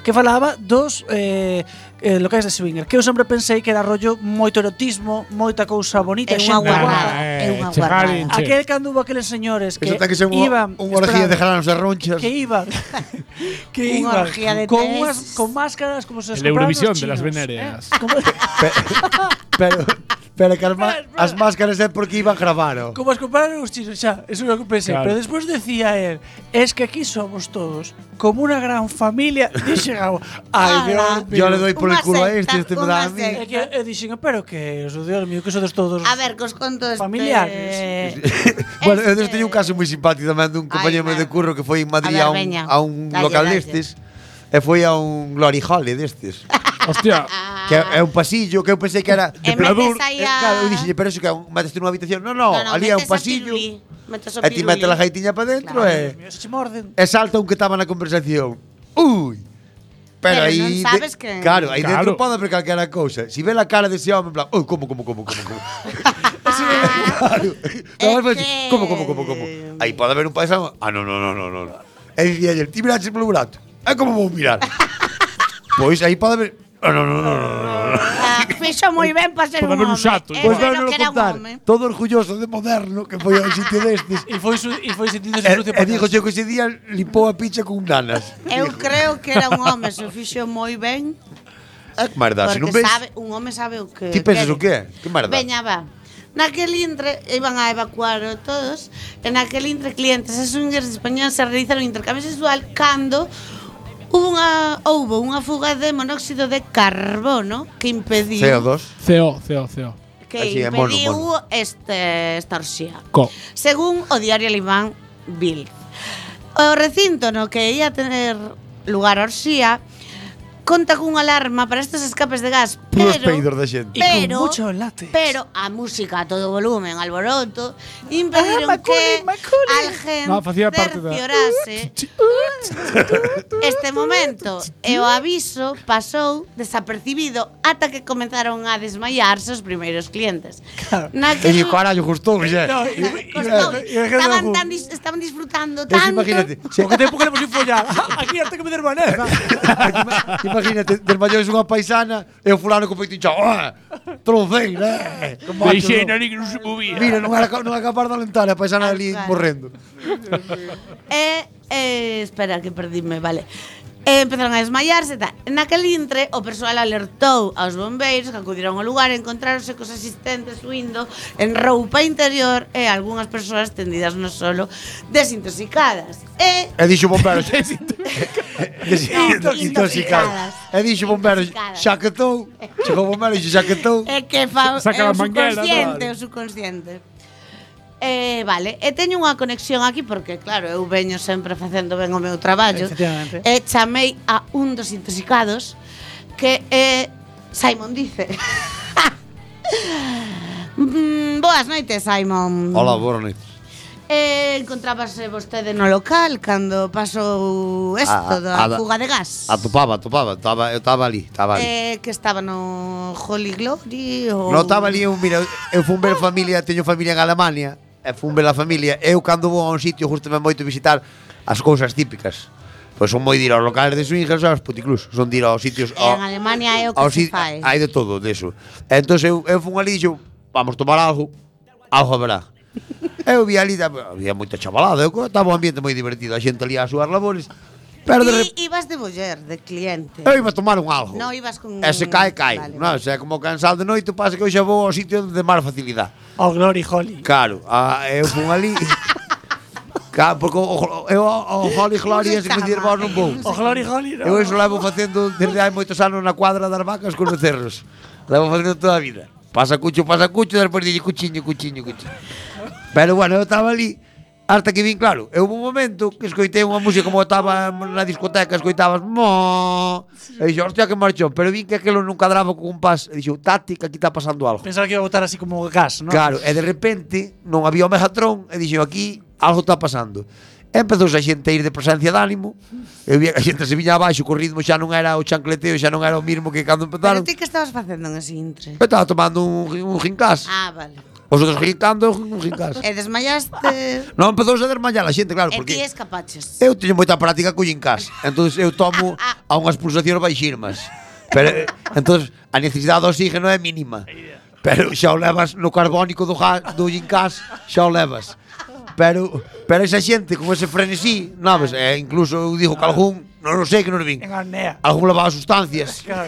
S3: Que falaba dos eh, eh, locais de swinger Que eu sempre pensei que era rollo moito erotismo Moita cousa bonita
S7: É
S3: e
S7: unha
S3: xente guapa.
S7: guarrada. é unha guarrada.
S4: Ah,
S3: Aquel cando hubo aqueles señores que,
S5: Eso ten que ser unha,
S3: iban
S5: unha orgía de
S3: espera,
S5: jaranos e ronchas.
S3: que iban que
S7: Unha
S3: iban
S7: orgía de
S3: con
S7: tés.
S3: unhas con máscaras como se las
S4: El de
S3: compraban los
S4: Eurovisión de las
S3: chinos,
S4: venereas.
S3: ¿eh? Como,
S5: Pero, pero que as, ma-
S3: Espera, espera.
S5: as máscaras é porque iban gravaron.
S3: como as compraron los chinos, xa, eso é o que pensei,
S4: Claro.
S3: pero despois decía él, es que aquí somos todos como una gran familia, dixen algo. Ai,
S7: Ala.
S3: Dios mío.
S5: Yo le doy por
S7: Unha
S5: el culo a este,
S7: secta,
S5: este me
S7: unha
S5: da a mí.
S7: secta.
S3: E, que, e dixen, pero que, eso, Dios mío, que sodes todos
S7: A ver, que os conto este...
S3: Familiares.
S5: Bueno, eu
S7: Este-
S5: teño un caso moi simpático tamén dun compañeiro meu de
S7: merda.
S5: curro que foi en Madrid
S7: A ver,
S5: a, un,
S7: veña.
S5: a un
S7: Dalle,
S5: local
S7: dalle.
S5: destes e foi a un glory hole destes.
S4: Hostia,
S5: que é un pasillo que eu pensei que era
S7: E metes aí
S5: Eh,
S7: a-
S5: Claro, eu dixenlle, pero iso que é un metes tú nunha habitación. No,
S7: No,
S5: no,
S7: no,
S5: ali é un
S7: metes a
S5: pasillo.
S7: pirulí, metes o
S5: E ti metes
S7: pirulí.
S5: a gaitiña para dentro
S7: Claro.
S5: e
S3: Se che morden.
S5: e salta un que estaba na conversación. Ui.
S7: Pero
S5: Pero, aí
S7: non sabes que-
S5: Claro, aí
S4: Claro.
S5: dentro pode haber calquera cousa. Si ve a cara dese home, en plan, ui, como, como, como, como, como.
S7: Ah,
S5: Claro.
S7: É
S5: No,
S7: que-
S5: ¿Cómo, cómo, cómo, cómo? Ahí puede haber un paisano. Ah, no, no, no, no, no. no. E dicía el ti miraste polo burato. Ah, como vou mirar? pois aí pode haber... Ah, no, no, no, no, no, no.
S7: Ah, Fixo moi ben para ser un
S4: Pode haber un
S7: home.
S4: xato,
S7: Eh,
S4: Pois
S5: Pois
S7: pero
S5: ben, non
S7: que era un
S5: contar.
S7: home.
S5: Todo orgulloso de moderno que foi ao sitio destes.
S3: E foi, su- e foi sentíndose
S5: e,
S3: sucio
S5: e
S3: por
S5: dixo
S3: casa.
S5: que ese día limpou a picha con nanas.
S7: Eu creo que era un home, se o fixo moi ben,
S5: É que merda, se
S7: porque
S5: non ves...
S7: sabe, un home sabe o que
S5: Ti pensas
S7: quere.
S5: o que é? Que merda?
S7: Veña, va. Naquel intre iban a evacuar o todos e naquel intre clientes e swingers españoles se realizaron intercambio sexual cando hubo unha, houbo unha fuga de monóxido de carbono que impediu
S5: CO2.
S4: CEO, CEO, CEO.
S7: que
S5: Así é, mono,
S7: impediu
S5: mono.
S7: este esta orxía.
S4: Co.
S7: Según o diario alemán Bild. O recinto no que ia tener lugar a orxía conta cunha alarma para estes escapes de gas,
S5: Puros
S7: pero
S5: peidos da xente.
S3: E con
S7: pero-
S3: mucho látex.
S7: Pero a música a todo volumen, alboroto, impedieron
S3: Ah, Macaulay,
S7: que
S3: Macaulay.
S7: al gen
S4: No, facía parte da-
S7: cerciorase este momento e o aviso pasou desapercibido ata que comenzaron a desmaiarse os primeiros clientes.
S3: Claro.
S5: E
S7: Naquel
S5: dixo, carallo, gustou, xa.
S3: No, e-
S7: costou.
S3: e- e- e-
S7: pues Estaban tan dis- estaban disfrutando
S5: Pois
S7: tanto.
S5: imagínate, se,
S3: Porque tempo queremos ir follar. Aquí hasta que me der maneja.
S5: imagínate, desmayou unha paisana e o fulano co peito hinchado. Ah, tronceira, eh. Como
S4: Deixei na que non se movía.
S5: Mira, non era, ca- non era capaz de alentar a paisana
S7: Tal
S5: ali
S7: cual.
S5: morrendo.
S7: E, eh, espera, que perdíme, vale. E empezaron a desmaiarse e tal. Naquel intre, o persoal alertou aos bombeiros que acudiron ao lugar e encontráronse cos asistentes huindo en roupa interior e algunhas persoas tendidas no solo desintoxicadas. E
S5: E dixo o bombero, xa-
S7: No,
S5: intoxicadas.
S7: intoxicadas.
S5: E dixo o bombero,
S7: Intoxicadas.
S5: xa que tou. Chegou o bombero e dixo, xa que tou.
S7: É que fa,
S4: Saca
S7: é o
S4: la manguera,
S7: subconsciente,
S4: claro.
S7: o subconsciente. Eh, vale, e teño unha conexión aquí porque claro, eu veño sempre facendo ben o meu traballo.
S3: Efectivamente.
S7: E chamei a un dos intoxicados que é Simon dice. Mm, boas noites, Simon.
S5: Hola, boa noite.
S7: Eh, encontrábase vostede no local cando pasou isto
S5: A-
S7: da
S5: a- a-
S7: fuga de gas.
S5: Atopaba, atopaba, taba, eu estaba ali, estaba ali.
S7: eh, que estaba no Holy Glory ou
S5: Non estaba ali, eu, mira, eu fun ver familia, teño familia en Alemania, e fun ver a familia. Eu cando vou a un sitio, justo me moito visitar as cousas típicas. Pois son moi dir aos locales de swingers e aos puticlús. Son dir aos sitios...
S7: En Alemania é o que
S5: aos
S7: se
S5: sit-
S7: fai.
S5: Hai de todo, deso. Entón eu, eu fun ali e dixo, vamos tomar algo, algo haberá. eu vi ali, había moita chavalada, eu, co- estaba un ambiente moi divertido, a xente ali a súas labores, pero de
S7: Ti
S5: Eh, repente...
S7: ibas de muller, de cliente.
S5: Eu iba a tomar un algo.
S7: No, ibas con-
S5: E se cae, cae.
S7: Vale,
S5: Vale, no, se é como cansado de noite, pasa que eu xa vou ao sitio de máis facilidade.
S3: Oh, Glory Holly.
S5: Claro, a, eu fun ali. claro, porque o, o, eu ao ao Holly Glory ese que dir vos non
S7: eh,
S5: vou.
S3: Oh, Glory Holly, no.
S5: Eu iso levo facendo desde hai moitos anos na cuadra das vacas con os cerros. Levo facendo toda a vida. Pasa cucho, pasa cucho, despois dille cuchiño, cuchiño, cuchiño. Pero bueno, eu estaba ali hasta que vin, claro, eu un momento que escoitei unha música como estaba na discoteca, escoitabas mo. E dixo, hostia, que marchou, pero vin que aquilo non cadraba con un pas. E dixo, tati, que aquí está pasando algo.
S3: Pensaba que iba a botar así como gas, ¿no?
S5: Claro, e de repente non había o Megatron e dixen aquí algo está pasando. E empezouse a xente a ir de presencia de ánimo Eu vi que a xente se viña abaixo Co ritmo xa non era o chancleteo Xa non era o mismo que cando
S7: Pero
S5: empezaron
S7: ti que estabas facendo en ese intre?
S5: Eu estaba tomando un, un gincás
S7: Ah, vale.
S5: Os outros gincando eu un gincás
S7: E
S5: Ah,
S7: desmayaste...
S5: Non empezouse a desmayar a xente, claro
S7: Ah. E ti
S5: Porque
S7: escapaches.
S5: eu teño moita práctica co gincás Entón eu tomo a unhas pulsacións baixirmas Pero, eh, entón, a necesidade de oxígeno é mínima Pero xa o levas no carbónico do, ga- do gincás Xa o levas Pero, pero esa xente con ese frenesí Naves, eh, incluso eu digo que algún Non o sei que non vin
S3: En Arnea.
S5: Algún levaba sustancias
S3: Claro.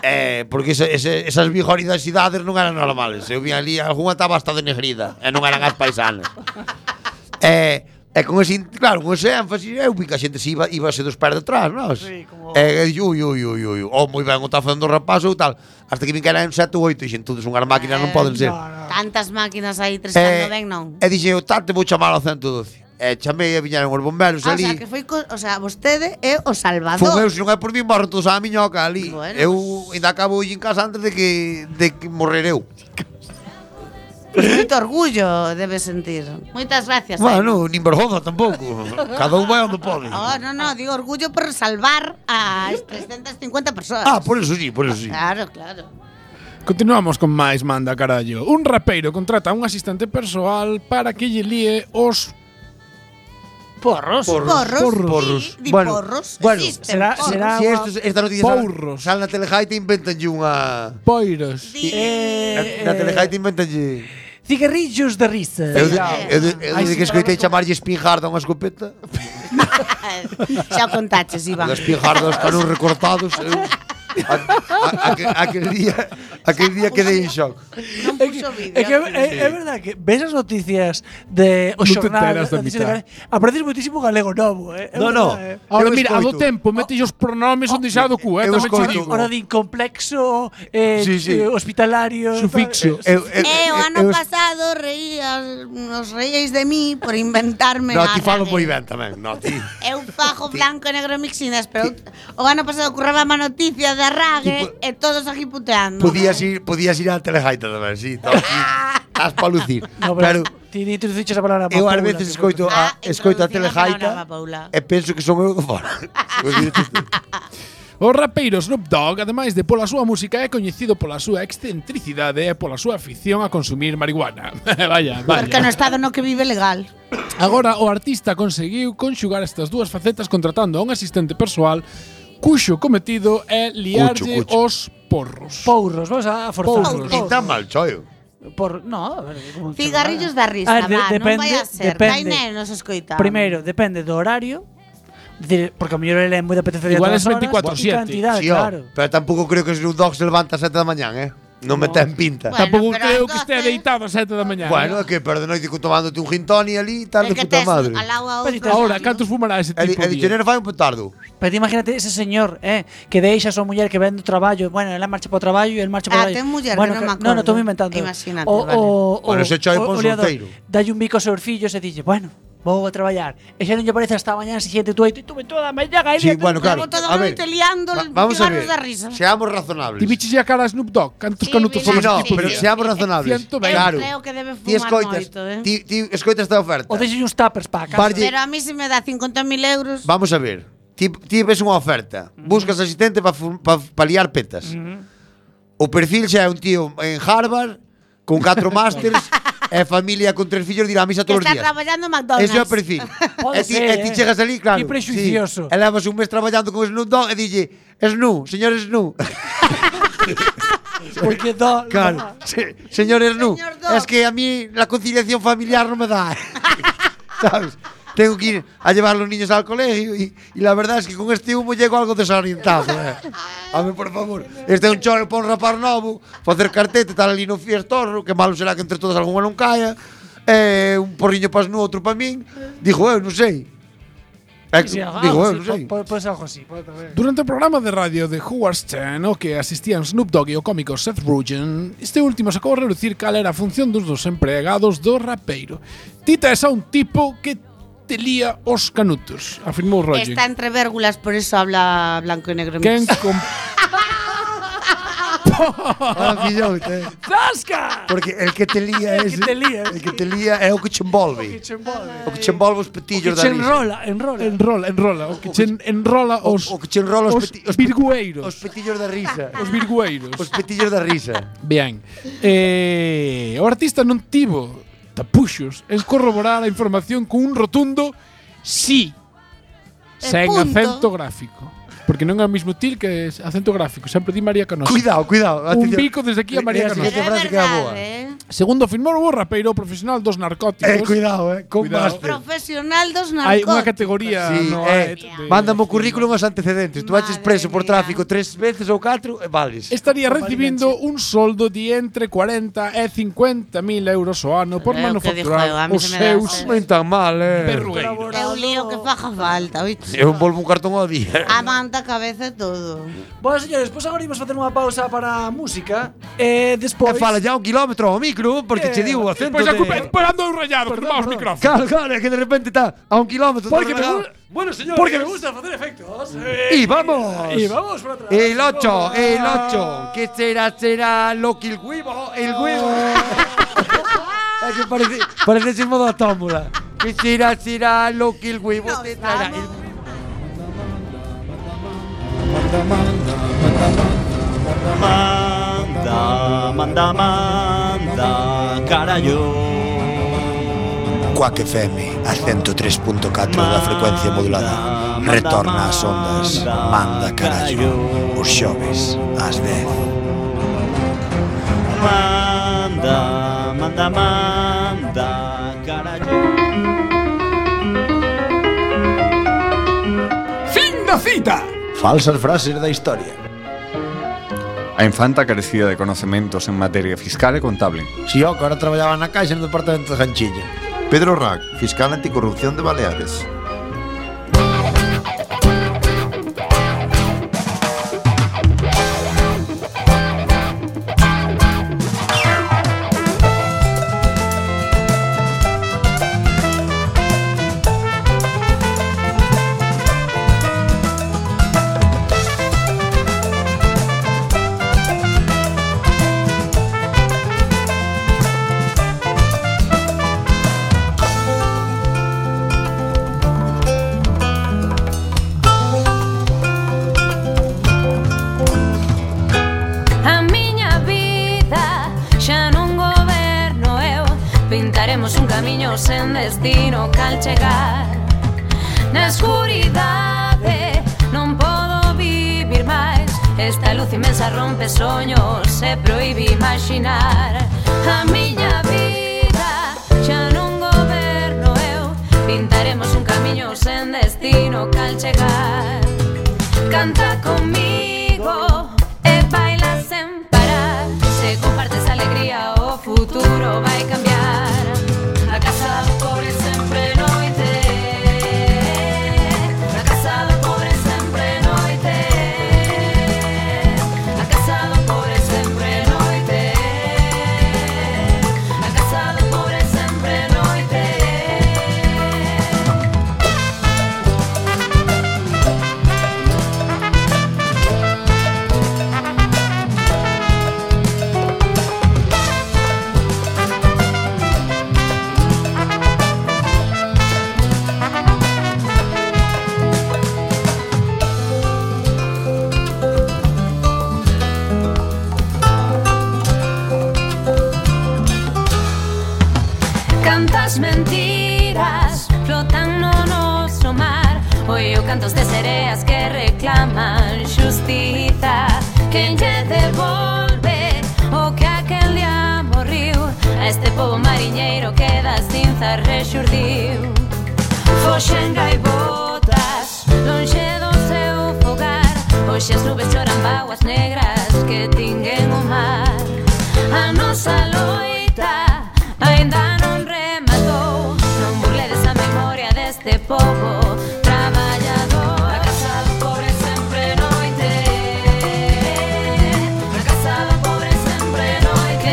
S5: eh, Porque ese, ese, esas vigoridasidades non eran normales Eu vi ali, algunha estaba hasta denegrida E non eran as paisanas E, e con ese, in- claro, con ese énfasis Eu vi que a xente se iba, iba se dos pés detrás, non?
S3: Sí, como-
S5: E, e ui, ui, ui, ui Ou moi ben o está facendo o rapaz ou tal Hasta que vi que eran sete ou oito E xente, todos unhas máquinas
S3: Eh,
S5: non poden ser
S3: No, no.
S7: Tantas máquinas aí tres eh,
S5: Eh,
S7: ben non.
S5: E dixen, o tate vou chamar ao 112 E chamei e viñeron os bomberos
S7: Ah, o
S5: ali
S7: sea, que foi, co- o sea, vostede é o
S5: Fun eu,
S7: salvador.
S5: se non é por mí, morren todos a miñoca ali.
S7: Bueno.
S5: Eu ainda acabo hoxe en casa antes de que, de que morrer eu.
S7: Moito orgullo debe sentir. Moitas gracias. eh.
S5: Bueno, nin vergonza tampouco. Cada un vai onde pode.
S3: Ah,
S7: Aino. Oh, no, no, digo orgullo por salvar a 350 persoas.
S5: Ah, por eso sí, por eso sí.
S7: Claro, claro.
S4: Continuamos con máis manda carallo. Un rapeiro contrata a un asistente persoal para que lle líe os
S3: Porros.
S7: Porros.
S5: porros.
S7: Porros. Di, di
S5: Bueno,
S7: porros.
S5: bueno,
S7: Existen
S3: será-
S7: porros.
S3: será-
S5: Si esto, esta noticia
S4: Porros.
S5: sal, sal na telejaita inventanlle unha...
S4: poiros.
S7: Di,
S5: Na,
S3: Eh,
S5: na telejaita inventanlle...
S3: Cigarrillos de risa.
S5: Eu, de- eu, de- eu,
S3: Ai,
S5: desde
S3: sí,
S5: que escoitei chamarlle espingarda a unha escopeta,
S7: Xa o contaches, Iván.
S5: das espingardas para os recortados, eu... A, a, a, que- aquel día, aquel día quedei en shock.
S7: Non puxo vídeo.
S3: É que é, é verdade que ves as noticias de o
S4: Non te
S3: xornal,
S4: enteras da
S3: as noticias de
S4: mitad.
S3: Galicia, apareces moitísimo galego novo, eh. É
S5: No, no.
S3: verdade, eh.
S4: Ahora
S5: Eu
S4: mira, a do
S5: escoito.
S4: tempo mete os pronomes onde xa do cu, eh,
S5: Eu
S4: tamén che
S5: escoito.
S4: digo.
S3: Ora din complexo eh,
S5: Sí, sí.
S3: eh, hospitalario
S4: Sufixo.
S3: tal. Eh,
S5: Eu, eu,
S7: Eh, o ano
S5: eu-
S7: pasado reías, nos reíais de mí por inventarme
S5: No,
S7: a
S5: ti falo
S7: radio.
S5: moi ben tamén. No, ti.
S7: Eu fajo blanco e negro mixinas, pero o ano pasado curraba má noticia da rague
S5: Tipo-
S7: e todos aquí puteando.
S5: Podías ir, podías ir á telejaita tamén, si. Sí, estás aquí, estás pa lucir.
S3: no,
S5: pero
S3: pero ti ti dices a palabra
S5: eu ás
S3: mapoula,
S5: veces
S3: que-
S5: escoito a,
S7: Ah,
S5: escoito a
S7: introducir a palabra,
S5: telejaita
S7: Paula.
S5: e penso que son eu do fora.
S4: O rapeiro Snoop Dogg, ademais de pola súa música, é coñecido pola súa excentricidade e pola súa afición a consumir marihuana. vaya,
S7: Porque no
S4: vaya.
S7: estado no que vive legal.
S4: Agora o artista conseguiu conxugar estas dúas facetas contratando a un asistente persoal cuxo cometido é liarlle
S5: Cucho, cucho.
S4: os porros.
S3: Porros, vamos a a forzar.
S7: Porros.
S5: Nin tan mal, choio.
S3: Por, no, a ver, como se
S7: Cigarrillos da
S3: chama?
S7: risa,
S3: A ver, Ah, de-
S7: va, non vai a ser. Dai
S3: depende.
S7: nenos escoitando.
S3: Primeiro, depende do horario. Decir, porque a mellor ele é moi de apetecería
S4: Igual
S3: todas
S4: es
S3: as horas,
S4: 24/7.
S3: e cantidade,
S5: Sí,
S3: claro.
S7: oh.
S5: claro. Pero tampouco creo que Snoop Dogg se levanta a sete da mañán, eh? Non me ten pinta.
S7: Bueno,
S4: Tampouco
S7: pero
S4: creo que estea
S7: entonces-
S4: deitado a sete da mañá.
S5: Bueno, é que pero de noite co tomándote un gin toni ali, tarde
S7: É que
S5: puta
S7: tes
S5: madre.
S7: al lado a
S3: Pero
S7: outro.
S4: Ahora, cantos fumará ese
S5: E di-
S4: tipo
S5: e dixo,
S4: día?
S5: "Nena, fai un petardo.
S3: Pero ti imagínate ese señor, eh, que deixa a súa muller que vén do traballo, bueno, ela marcha para o traballo e el marcha
S7: Ah,
S3: para o traballo.
S7: ten muller, que non me
S3: No,
S7: acordo.
S3: no, estou inventando.
S7: Imagínate,
S3: o,
S7: vale.
S3: o,
S5: Bueno, ese chai pon
S3: liador
S5: solteiro.
S3: Dalle un bico aos seus fillos e dixe, bueno, vou a traballar. E xa non lle parece hasta a mañá siguiente tú aí, tú me toda a mañá, aí,
S5: Sí,
S3: tú-
S5: bueno, claro.
S7: Llevo toda
S5: A
S7: la
S5: ver,
S7: noite liando,
S5: va- vamos a
S7: cigarros
S5: ver.
S7: da risa.
S5: Seamos razonables.
S4: Ti bichixe a cara a Snoop Dogg, cantos
S7: Sí, vi
S4: canutos
S5: Sí,
S4: foron
S7: la
S4: ese
S5: no,
S4: tipo
S5: pero
S4: día?
S5: seamos razonables.
S4: 120.
S5: Claro.
S7: Creo que debe
S5: Ti
S7: fumar
S5: escoitas,
S7: moito, eh.
S5: ti, ti escoitas esta oferta.
S3: O deixe uns tuppers para casa.
S5: Varlle-
S7: Pero a mí se me dá 50.000 euros.
S5: Vamos a ver. Ti, ti ves unha oferta. Buscas asistente para pa, pa liar petas. O perfil xa é un tío en Harvard con catro másters e familia con tres fillos dirá a misa
S7: Que
S5: todos os
S7: está
S5: días.
S7: traballando en McDonald's.
S5: Eso é perfil.
S3: Pode
S5: e ti,
S3: ser,
S5: e ti
S3: eh.
S5: chegas ali, claro.
S3: Que prexuicioso.
S5: Sí, e levas un mes traballando con Snoop Dogg e dille, Snoop, señor Snoop.
S3: Porque do,
S5: Claro, se, señor Snoop,
S7: Señor Dogg.
S5: es que a mí la conciliación familiar no me da. ¿Sabes? Tengo que ir a llevar los niños al colegio y, y la verdad es que con este humo llego algo desorientado. eh. A ver, por favor, este é un choro para un rapar novo, facer cartete, tal ali no fiestorro, que malo será que entre todos algún non caia, eh, un porriño para Snoop, outro para min, dijo, eu non sei. Eh,
S3: Ah, Sí, sí, algo
S5: digo, eu
S3: así,
S5: non sei.
S3: po- po- Pois algo así, pode tamén.
S4: Durante o programa de radio de Howard Stern, ao que asistían Snoop Dogg e o cómico Seth Rogen, este último sacou a relucir cal era a función dos dos empregados do rapeiro. Tita é só un tipo que te lía os canutos, afirmou Rogen.
S7: Está entre vérgulas, por eso habla blanco y negro.
S4: Quen com
S5: Ah, fillote, eh.
S3: Zasca!
S5: Porque el que te lía
S3: El
S5: es
S3: que te lía,
S5: el que te lía é o que che envolve. O que che envolve os petillos da
S3: Se
S5: risa.
S3: enrola, enrola.
S4: enrola, enrola, o que chen enrola
S5: O,
S4: os
S5: o que che enrola os,
S4: os
S5: peti- os, pe-
S4: virgueiros,
S5: os petillos da risa.
S4: os virgueiros.
S5: Os petillos da risa.
S4: Ben, eh, o artista non tivo tapuxos en corroborar a información cun rotundo sí,
S7: E
S4: sen
S7: punto.
S4: acento gráfico. Porque non é o mismo til que es- acento gráfico, sempre di María Canosa.
S5: Cuidado, cuidado.
S4: Un
S5: atención.
S4: bico desde aquí a María
S5: Eh, eh,
S4: Canosa.
S5: Esta frase queda boa.
S7: eh.
S4: Segundo afirmou o rapeiro profesional dos narcóticos.
S5: Eh, cuidado, eh. Con
S4: Cuidado.
S5: máster.
S7: Profesional dos
S4: Hai
S7: narcóticos.
S4: unha categoría
S5: Sí,
S4: no eh,
S5: eh,
S4: de-
S5: Mándame o currículum aos antecedentes. Tu
S7: Madre
S5: vaches preso por
S7: mía.
S5: tráfico tres veces ou catro, e vales.
S4: Estaría recibindo un soldo de entre 40 e 50 mil euros ao ano por
S7: É o que dijo eu, a
S4: manufacturar
S7: mí
S4: os
S7: se me dá
S4: seus
S7: ser.
S5: Non tan mal, eh.
S4: perrugueiros.
S7: É un lío que faja falta, oíche.
S5: Eu envolvo un cartón ao día.
S7: A manta, cabeza e todo.
S3: Bueno, señores,
S8: pues
S3: pois agora imos facer unha pausa para a música
S8: Eh,
S3: e
S5: E
S3: despois
S5: fala ya un kilómetro ao micro, porque che digo o acento
S4: Pois a culpa é de
S5: de...
S4: parando eu rayado, que os micrófonos.
S5: Claro, claro, é que de repente está a un kilómetro.
S4: Pois
S3: Porque me
S5: relegado.
S3: gusta. Bueno, señores. Porque me gusta facer efectos. Eh,
S5: Y vamos.
S3: Y vamos para atrás.
S5: El 8, el 8. ¿Qué será? ¿Será lo que el huevo? El huevo. Es que parece, parece ser modo tómbola. ¿Qué será? ¿Será lo que el huevo te traerá? El-
S9: Manda, manda, manda, carallo.
S8: Cuac FM, a 103.4 da frecuencia modulada. Retorna ás ondas, manda carallo. Os xoves, ás 10.
S9: Manda, manda, manda, carallo.
S8: Falsas frases da historia.
S10: A infanta carecía de conocimientos en materia fiscal e contable.
S8: Si yo que ahora traballaba na caixa no departamento de Ganchillo.
S11: Pedro Rack, fiscal anticorrupción de Baleares.
S12: A miña vida xa non goberno eu Pintaremos un camiño sen destino cal chegar Na escuridade non podo vivir máis Esta luz inmensa rompe soños e proíbe imaginar A miña vida xa non goberno eu Pintaremos un camiño sen destino cal chegar Canta conmigo e baila sen parar Se compartes alegría o futuro vai cambiar A casa do pobre sempre é noite A casa do pobre sempre é noite A casa do pobre sempre é noite A casa do pobre sempre é noite
S9: as mentiras flotan no noso mar Oio cantos de sereas que reclaman justiza Que lle devolve o que aquel día morriu A este povo mariñeiro que da cinza rexurdiu Foxen gaivotas, lonxe do seu fogar Hoxe as nubes choran bauas negras que tinguen o mar A nosa loita Ainda non rematou Non burledes a memoria deste povo Traballador A casa do pobre sempre noite A casa do pobre sempre noite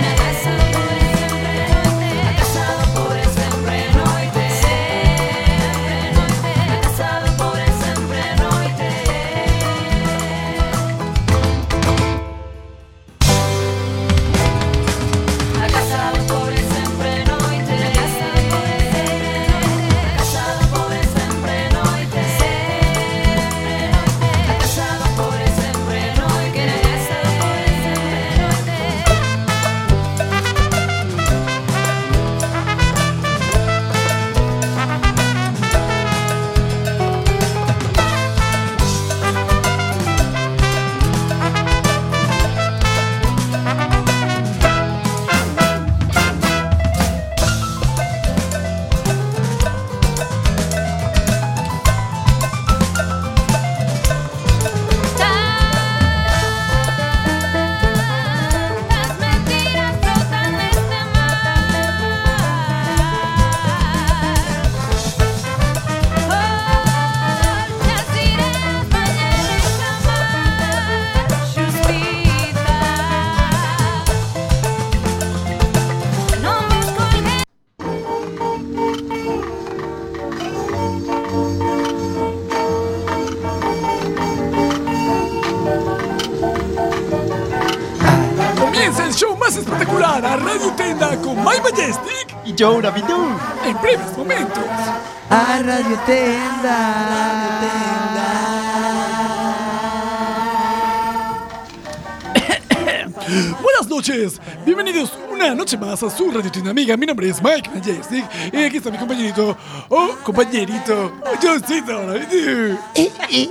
S9: A casa do pobre sempre noite A casa do pobre sempre noite A casa do pobre sempre noite A casa do pobre sempre noite A casa do pobre sempre noite A casa do pobre sempre noite A casa do pobre sempre noite A casa do pobre sempre noite Tantas mentiras flotan neste mar Oh, nas irás mañana chamar Justiza Non vos colguedes
S8: Comienza el show más espectacular a Radio Tenda con My Majestic y Joe Rabidu en breves momentos. A Radio Buenas noches, bienvenidos una noche más a su Radio Tienda Amiga. Mi nombre es Mike Majestic y aquí está mi compañerito, oh, compañerito, Johncito Rabidu.
S5: Es Eh,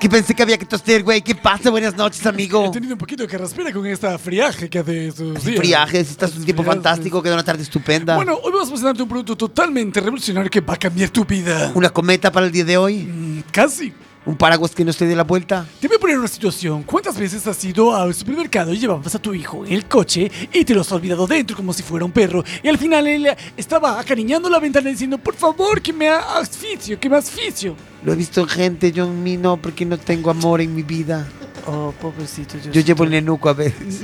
S5: que pensé que había que toser, güey. ¿Qué pasa? Buenas noches, amigo.
S8: He tenido un poquito que respira con esta friaje que hace estos días.
S5: Friajes, estás un tiempo fantástico, queda una tarde estupenda.
S8: Bueno, hoy vamos a presentarte un producto totalmente revolucionario que va a cambiar tu vida.
S5: ¿Una cometa para el día de hoy?
S8: Casi.
S5: ¿Un paraguas que no se dé la vuelta?
S8: Te voy a poner en una situación. ¿Cuántas veces has ido al supermercado y llevabas a tu hijo en el coche y te lo has olvidado dentro como si fuera un perro? Y al final él estaba acariñando la ventana diciendo, por favor, que me asfixio, que me asfixio.
S5: Lo he visto en gente, yo en mí no, porque no tengo amor en mi vida.
S13: Oh, pobrecito.
S5: Yo llevo el nenuco a veces.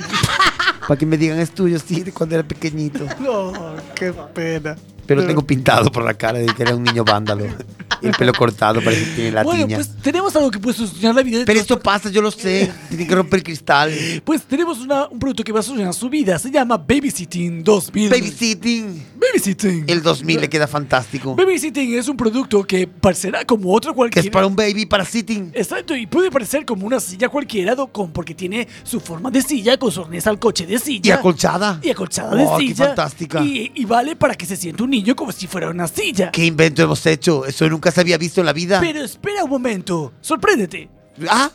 S5: para que me digan es tuyo, sí, de cuando era pequeñito.
S13: No, qué pena.
S5: Pero tengo pintado por la cara de que era un niño vándalo. Y el pelo cortado, parece que tiene la
S8: bueno,
S5: tiña.
S8: pues tenemos algo que puede solucionar la vida de Pero esto
S5: pasa, yo lo sé. Tienen que romper cristal.
S8: Pues tenemos una- un producto que va a solucionar su vida. Se llama Babysitting 2000.
S5: Babysitting.
S8: Babysitting.
S5: El 2000 le queda fantástico.
S8: Babysitting es un producto que parecerá como otro cualquiera. Que es para
S5: un baby, para sitting.
S8: Exacto, y puede parecer como una silla cualquiera, do- con, porque tiene su forma de silla, con su arnés al coche de silla.
S5: Y acolchada.
S8: Y acolchada de
S5: Oh, qué
S8: silla.
S5: fantástica.
S8: Y, y vale para que se sienta un niño como si fuera una silla.
S5: ¿Qué invento hemos hecho? Eso nunca se había visto en la vida.
S8: Pero espera un momento, sorpréndete.
S5: Ah.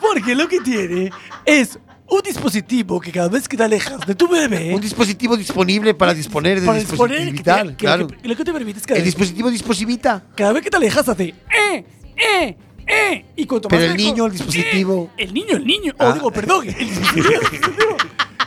S8: Porque lo que tiene es un dispositivo que cada vez que te alejas de tu bebé. Un
S5: dispositivo disponible para disponer de
S8: Para disponer que te-
S5: dispositivital,
S8: que-
S5: claro.
S8: que- que lo que te permite es cada
S5: El
S8: vez-
S5: dispositivo disposivita.
S8: Cada vez que te alejas hace ¡eh! ¡eh! ¡eh! Y cuanto
S5: Pero
S8: más
S5: el
S8: lejos- "Eh,
S5: niño, el dispositivo. Ah.
S8: El niño, el niño. Oh, digo, perdón. El dispositivo. el dispositivo.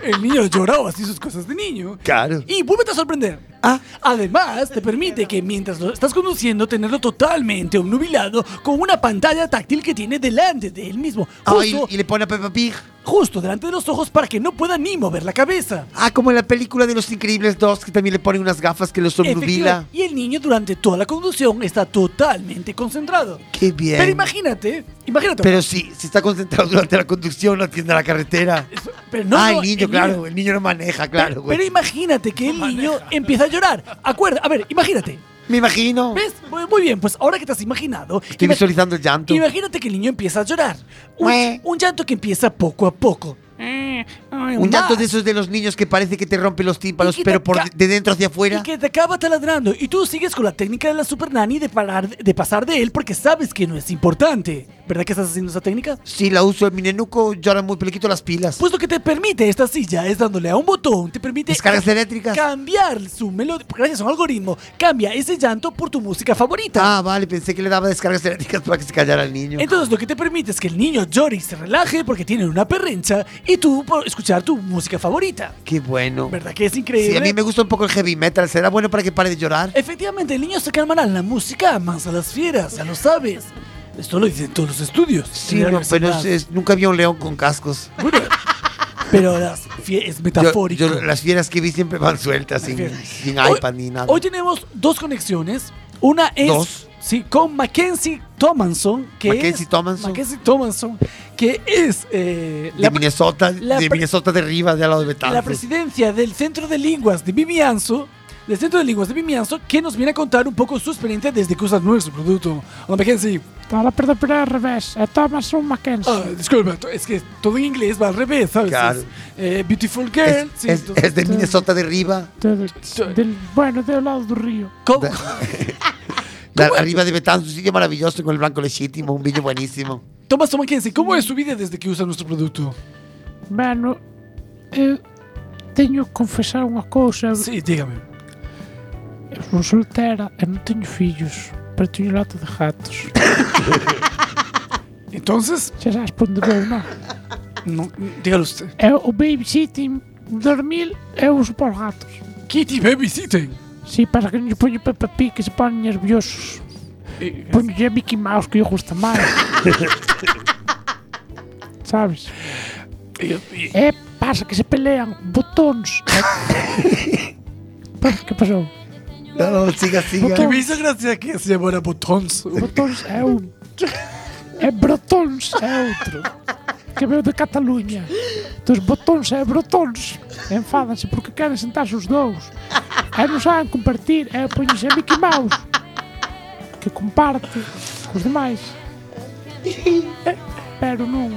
S8: El niño lloraba así sus cosas de niño.
S5: Claro.
S8: Y vuelve a sorprender.
S5: Ah.
S8: Además, te permite que mientras lo estás conduciendo, tenerlo totalmente obnubilado con una pantalla táctil que tiene delante de él mismo.
S5: Ay, y le pone a Peppa Pig.
S8: Justo delante de los ojos para que no pueda ni mover la cabeza.
S5: Ah, como en la película de Los Increíbles 2, que también le ponen unas gafas que los obnubila.
S8: Efectivamente. Y el niño durante toda la conducción está totalmente concentrado.
S5: Qué bien.
S8: Pero imagínate, imagínate.
S5: Pero sí, si está concentrado durante la conducción, no atiende a la carretera.
S8: pero no,
S5: ah, el
S8: no,
S5: niño,
S8: el
S5: claro.
S8: niño.
S5: El niño no maneja, claro,
S8: Pero,
S5: güey.
S8: pero imagínate que el niño empieza a llorar. Acuerda, a ver, imagínate.
S5: Me imagino.
S8: ¿Ves? Muy, muy bien, pues ahora que te has imaginado.
S5: Estoy
S8: ima-
S5: visualizando el llanto.
S8: Imagínate que el niño empieza a llorar. Un, un llanto que empieza poco a poco. Mm,
S3: Un llanto de esos de los niños que parece que te rompe los tímpanos,
S8: Y que te
S3: pero por
S8: ca-
S3: de dentro hacia afuera.
S8: Y que te acaba taladrando. Y tú sigues con la técnica de la super nani de, parar, de pasar de él porque sabes que no es importante. ¿Verdad que estás haciendo esa técnica?
S3: Sí, la uso. Mi nenuco llora muy, pero le quito las pilas.
S8: Pues lo que te permite esta silla es dándole a un botón, te permite...
S3: Descargas eléctricas.
S8: Cambiar su melodía, gracias a un algoritmo, cambia ese llanto por tu música favorita.
S3: Ah, vale, pensé que le daba descargas eléctricas para que se callara el niño.
S8: Entonces lo que te permite es que el niño llore y se relaje porque tiene una perrencha y tú por escuchar tu música favorita.
S3: Qué bueno.
S8: ¿Verdad que es increíble?
S3: Sí, a mí me gusta un poco el heavy metal. ¿Será bueno para que pare de llorar?
S8: Efectivamente, el niño se calmará en la música más a las fieras, ya lo sabes. Esto lo dicen todos los estudios.
S3: Sí, no, pero es- es- nunca había un león con cascos.
S8: Pero las fie- es
S3: Yo-
S8: metafórico.
S3: yo- las fieras que vi siempre van sueltas, sin,
S8: fieras.
S3: sin
S8: Hoy-
S3: iPad ni nada.
S8: Hoy tenemos dos conexiones. Una es
S3: Dos.
S8: sí, con Mackenzie Thomanson, que
S3: Mackenzie
S8: es
S3: Thomanson.
S8: Mackenzie Thomanson, que es eh,
S3: de
S8: la, pre-
S3: Minnesota,
S8: la
S3: de
S8: pre-
S3: Minnesota de Rivas, de al lado de
S8: la
S3: Betanzos.
S8: presidencia del Centro de Lenguas de Vimianzo, del Centro de Lenguas de Vimianzo, que nos viene a contar un poco su experiencia desde que usa nuestro producto. Hola Mackenzie.
S14: Hola, perdón, pero al revés. Eh, Thomas un
S8: Ah,
S14: Mackenzie.
S8: disculpa, to- es que todo en inglés va al revés, ¿sabes?
S3: Claro.
S8: Es, eh, beautiful girl. sí,
S3: es,
S8: entonces-
S3: es de Minnesota de Riva,
S14: Del, del- bueno, del lado del río.
S8: ¿Cómo?
S3: de arriba de Betanzos, un sitio maravilloso con el blanco legítimo, un vino buenísimo.
S8: Thomas Thomas Mackenzie, ¿cómo es su vida desde que usa nuestro producto?
S14: Bueno, eu teño que confesar unha cousa.
S8: Sí, dígame.
S14: Eu sou soltera e non teño fillos, pero teño lata de gatos.
S8: Entonces,
S14: Xa sabes por onde vou, non?
S8: no, dígalo usted.
S14: Eu É o babysitting dormir eu uso para os gatos.
S8: Kitty
S14: tipo
S8: Babysitting.
S14: Si, pasa que non lle poño Peppa Pig que se ponen nerviosos.
S8: Eh,
S14: Poño a Mickey Mouse que lle gusta máis. sabes?
S8: eh, eh,
S14: E pasa que se pelean botóns. Pá, que pasou?
S3: No, no, siga, siga.
S8: Que me hizo gracia que se llamara Botons.
S14: Botóns é un. E brotóns é outro. Que veu de Cataluña. Dos botóns e brotóns enfádanse porque queren sentarse os dous. E non saben compartir. E poñense a Mickey Mouse que comparte cos demais. É, E- Pero non...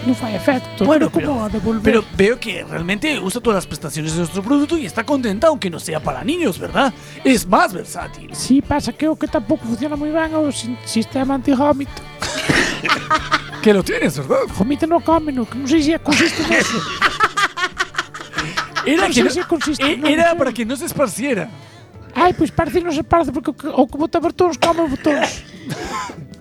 S14: Non fai efecto.
S8: Bueno,
S14: Bueno, como
S8: pero-
S14: a devolver.
S8: Pero veo que realmente usa todas las prestaciones de nuestro producto y está contenta, aunque no sea para niños, ¿verdad? Es más versátil.
S14: Si, pasa que o que tampouco funciona moi ben é o sin- sistema anti-homito.
S8: Que lo tienes, ¿verdad?
S14: Homito no come, no, que non sei se é consiste neso.
S1: Pues
S8: Era,
S14: Non
S8: que
S14: sei
S8: no-
S14: se consiste
S8: eh,
S14: no,
S8: era
S14: non sei.
S8: para que no se esparciera.
S14: Ai, pois pues parece que non se parece porque o que- o que bota botóns come botóns. Eh,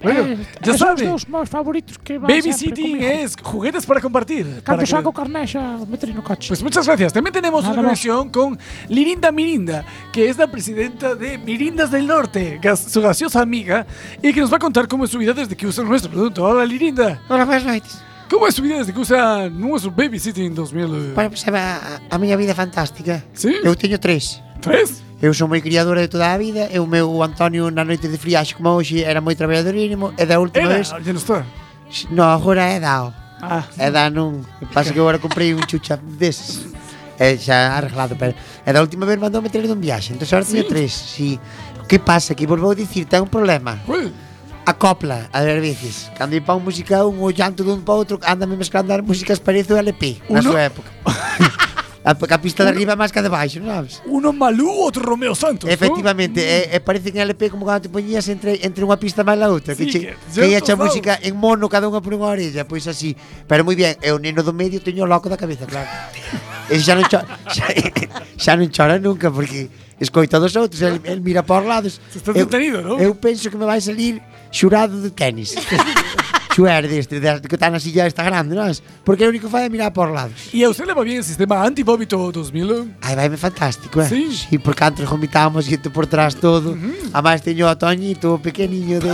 S8: Bueno,
S14: eh,
S8: ya
S14: son os
S8: sabe.
S14: dous meus favoritos que van
S8: Babysitting es juguetes para compartir. para
S14: Cando
S8: que-
S14: saco o carné xa meter no coche.
S8: Pues muchas gracias. También tenemos
S14: Nada
S8: una
S14: más.
S8: conexión con Lirinda Mirinda, que es la presidenta de Mirindas del Norte, gas- su graciosa amiga, y que nos va a contar cómo es su vida desde que usa nuestro producto. Hola, Lirinda.
S5: Hola, boas noites.
S8: ¿Cómo es su vida desde que usa nuestro Babysitting 2000?
S5: Bueno, pues, a, a miña vida é fantástica.
S8: Sí?
S5: Eu teño tres.
S8: ¿Tres?
S5: Eu sou moi criadora de toda a vida e o meu Antonio na noite de friaxe como hoxe era moi traballadorínimo e da última
S8: Era,
S5: vez...
S8: ya no está.
S5: No, agora é dao.
S8: Ah,
S5: É da nun. Pasa que agora comprei un chucha deses. E xa arreglado, pero... E da última vez mandou meter de un viaxe. Entón agora teño tres. Si. Que pasa? Que volveu dicir, ten un problema.
S8: ¿cuál?
S5: Acopla, a ver veces. Cando ir para un musical, un o llanto dun para outro, andame mesclando as músicas parece o LP, na
S8: Uno-
S5: súa época. a, a pista de arriba é máis que a de baixo, non sabes?
S8: Uno Malú, otro Romeo Santos. ¿no? Mm.
S5: Efectivamente, e, e parece que en LP como cando te poñías entre entre unha pista máis la outra,
S8: Sí,
S5: que che,
S8: que- yo
S5: que ia a
S8: sabes.
S5: música en mono cada unha por unha orella, pois así. Pero moi bien, e o neno do medio teño o loco da cabeza, claro. e xa non chora, xa, xa non chora nunca porque escoita dos outros, el, el mira para os lados.
S8: Estás detenido, non?
S5: Eu penso que me vai salir xurado de tenis. Xuer deste, de, que está na silla esta grande, non? Porque o único que fai é mirar para os lados.
S8: ¿Y a usted le va bien el sistema antibóbito 2000?
S5: Aí vai-me fantástico, eh?
S8: Sí.
S5: sí porque antes vomitábamos xente por trás todo. A máis teño a Toñito, o pequeniño de...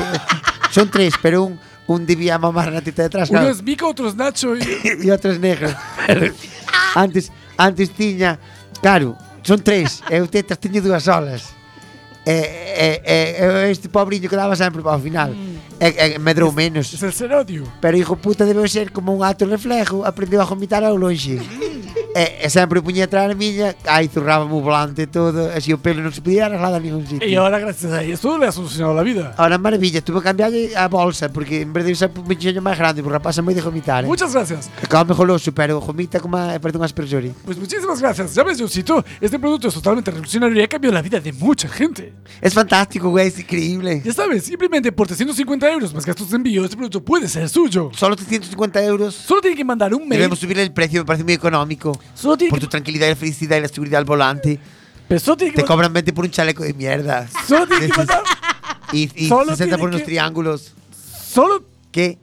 S5: Son tres, pero un, un debía mamar na teta de atrás,
S8: Uno
S5: claro.
S8: es Mico, otro es Nacho. Y...
S5: E outras negras. antes, antes tiña... Claro, son tres. Eu tetas teño dúas solas. E, e, e, e este pobriño que daba sempre para o final. E, e medrou menos.
S8: Es el Cerodio.
S5: Pero hijo puta debeu ser como un acto reflejo, aprendeu a vomitar ao lonxe. E, e sempre puña atrás a miña, aí zurrábame o volante e todo, así o pelo non se podía arreglar a ningún sitio.
S4: E
S8: Y ahora, gracias a eso, le ha solucionado la vida.
S5: Ahora maravilla, tuve que cambiarlle a bolsa porque en vez de usar un pechinho máis grande, porque o rapaz é moi de vomitar. Eh?
S8: Muchas gracias.
S5: Acaba mejoroso, pero vomita como a, perdón, aspersori.
S8: Pues muchísimas gracias. Ya ves, Johncito, este producto es totalmente revolucionario y ha cambiado la vida de mucha gente.
S5: Es fantástico, güey, es increíble.
S8: Ya sabes, simplemente por 350 euros más gastos de envío, este producto puede ser suyo.
S5: Solo 350 euros.
S8: Solo tiene que mandar un mail.
S5: Debemos subir el precio, me parece muy económico.
S8: Solo tiene
S5: por
S8: que-
S5: tu tranquilidad y la felicidad y la seguridad al volante.
S8: Pero solo tiene que
S5: Te
S8: man-
S5: cobran 20 por un chaleco de mierda.
S8: Solo tiene que
S5: Esos-
S8: mandar.
S5: Y, y
S8: Solo
S5: 60
S8: tiene
S5: por unos
S8: que-
S5: triángulos.
S8: Solo.
S5: ¿Qué?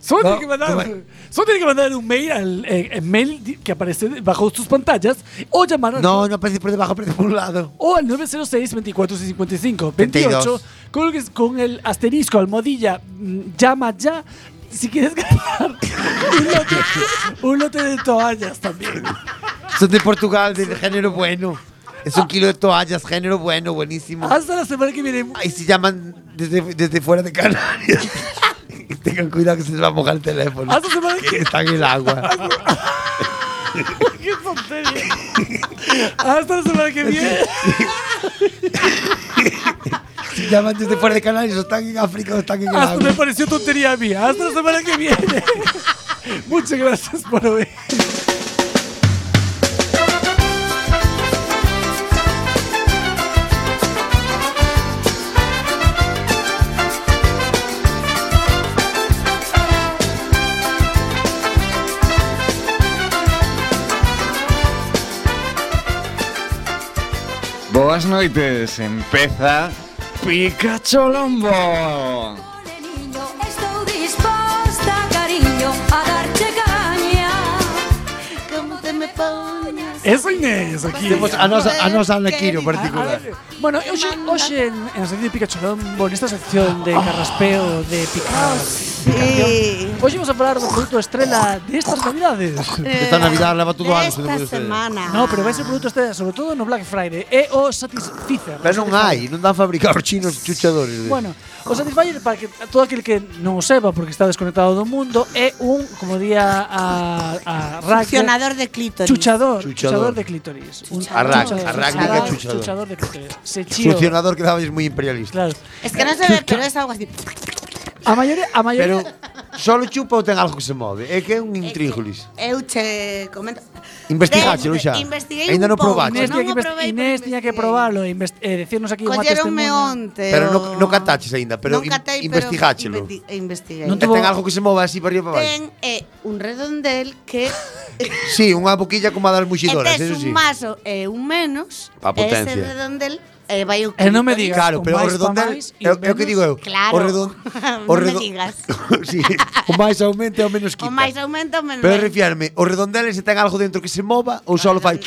S8: Solo,
S5: No,
S8: tiene que mandar,
S5: ¿cómo?
S8: solo tiene que mandar un mail al eh, eh, mail di- que aparece bajo tus pantallas o llamar al.
S5: No, no aparece por debajo, aparece por un lado.
S8: O al 906 24 55 28
S5: 32.
S8: con, el- con el asterisco, almohadilla, mm, llama ya. Si quieres ganar un lote, un lote de toallas también.
S5: Son de Portugal, de género bueno. Es un kilo de toallas, género bueno, buenísimo.
S8: Hasta la semana que viene.
S5: Ahí se llaman desde, desde fuera de Canarias. Tengan cuidado que se les va a mojar el teléfono.
S8: Hasta la semana que
S5: Que está en el agua.
S8: ¡Qué tontería! Hasta la semana que viene.
S5: Se llaman desde fuera de Canarias, o están en África o están en el
S8: Hasta
S5: agua.
S8: me pareció tontería mía. Hasta la semana que viene. Muchas gracias por hoy.
S15: Boas noites, empeza Pikachu Lombo.
S12: Estou disposta, cariño, a darte caña. Como te me pones.
S8: Eso Inés aquí.
S5: Temos a nosa, a nosa Ana Quiro
S8: Ah,
S5: particular.
S8: ah,
S3: Bueno, hoxe, hoxe en, en la sección de Pikachu Lombo, nesta sección de carraspeo de Picado,
S7: Sí.
S3: hoxe vamos a falar do produto estrela destas navidades.
S5: Esta Navidad leva todo o ano. se non
S7: Esta
S5: ustedes.
S7: semana.
S3: No, pero vai ser produto estrela, sobre todo no Black Friday. E o Satisficer.
S5: Pero non hai, non dan fabricar os chinos chuchadores.
S3: Bueno, o Satisfyer para que todo aquel que non o sepa porque está desconectado do mundo é un, como día a, a Raquel,
S7: Funcionador de clítoris.
S3: chuchador, chuchador,
S5: Chuchador.
S3: de clítoris. Un
S5: Arrac-
S3: chuchador.
S5: arrac de
S3: Arrac-
S5: chuchador.
S3: chuchador de clítoris. Se chío.
S5: Funcionador que daba es muy imperialista.
S3: Claro.
S7: Es que no se ve, pero es algo así.
S3: A maioría, a
S5: Pero
S3: maioría
S5: solo chupa ou ten algo que se move. É que é un intrígolis.
S7: Eu che comento.
S5: Investigáchelo
S7: Desde-
S5: xa.
S7: Investiguei
S5: Ainda
S7: un
S5: non
S7: pouco,
S5: probaste.
S3: Inés
S7: non o
S3: tiña que, invest-
S7: probei,
S3: Inés tiña que probarlo e invest- e decirnos aquí unha
S7: Colleronme
S3: testemunha.
S7: onte.
S5: Pero
S7: o-
S5: non, non cataches aínda,
S7: non
S5: pero
S7: catei,
S5: in- investigáchelo.
S7: investi- Investiguei.
S3: Non
S5: E ten algo que se move así para arriba e para
S7: Ten
S5: baixo.
S7: eh, un redondel que
S5: Sí, unha boquilla como a das
S7: e
S5: muxidoras,
S7: tes
S5: eso
S7: un
S5: sí.
S7: maso e un menos. e
S5: Pa potencia.
S7: Ese redondel eh, vai o
S3: E non me
S7: clítoris.
S3: digas,
S5: Claro, pero
S3: o
S5: o
S3: máis pa
S5: redondel
S3: máis e
S5: é
S3: o
S5: o é o que
S3: menos-
S5: digo eu.
S7: Claro.
S5: O redon,
S7: Non
S5: o
S7: me
S5: redon,
S7: digas.
S5: sí, o máis aumenta ou menos
S7: O
S5: quita.
S7: máis aumenta o menos.
S5: Pero
S7: aumenta.
S5: refiarme, o redondel se ten algo dentro que se mova ou solo fai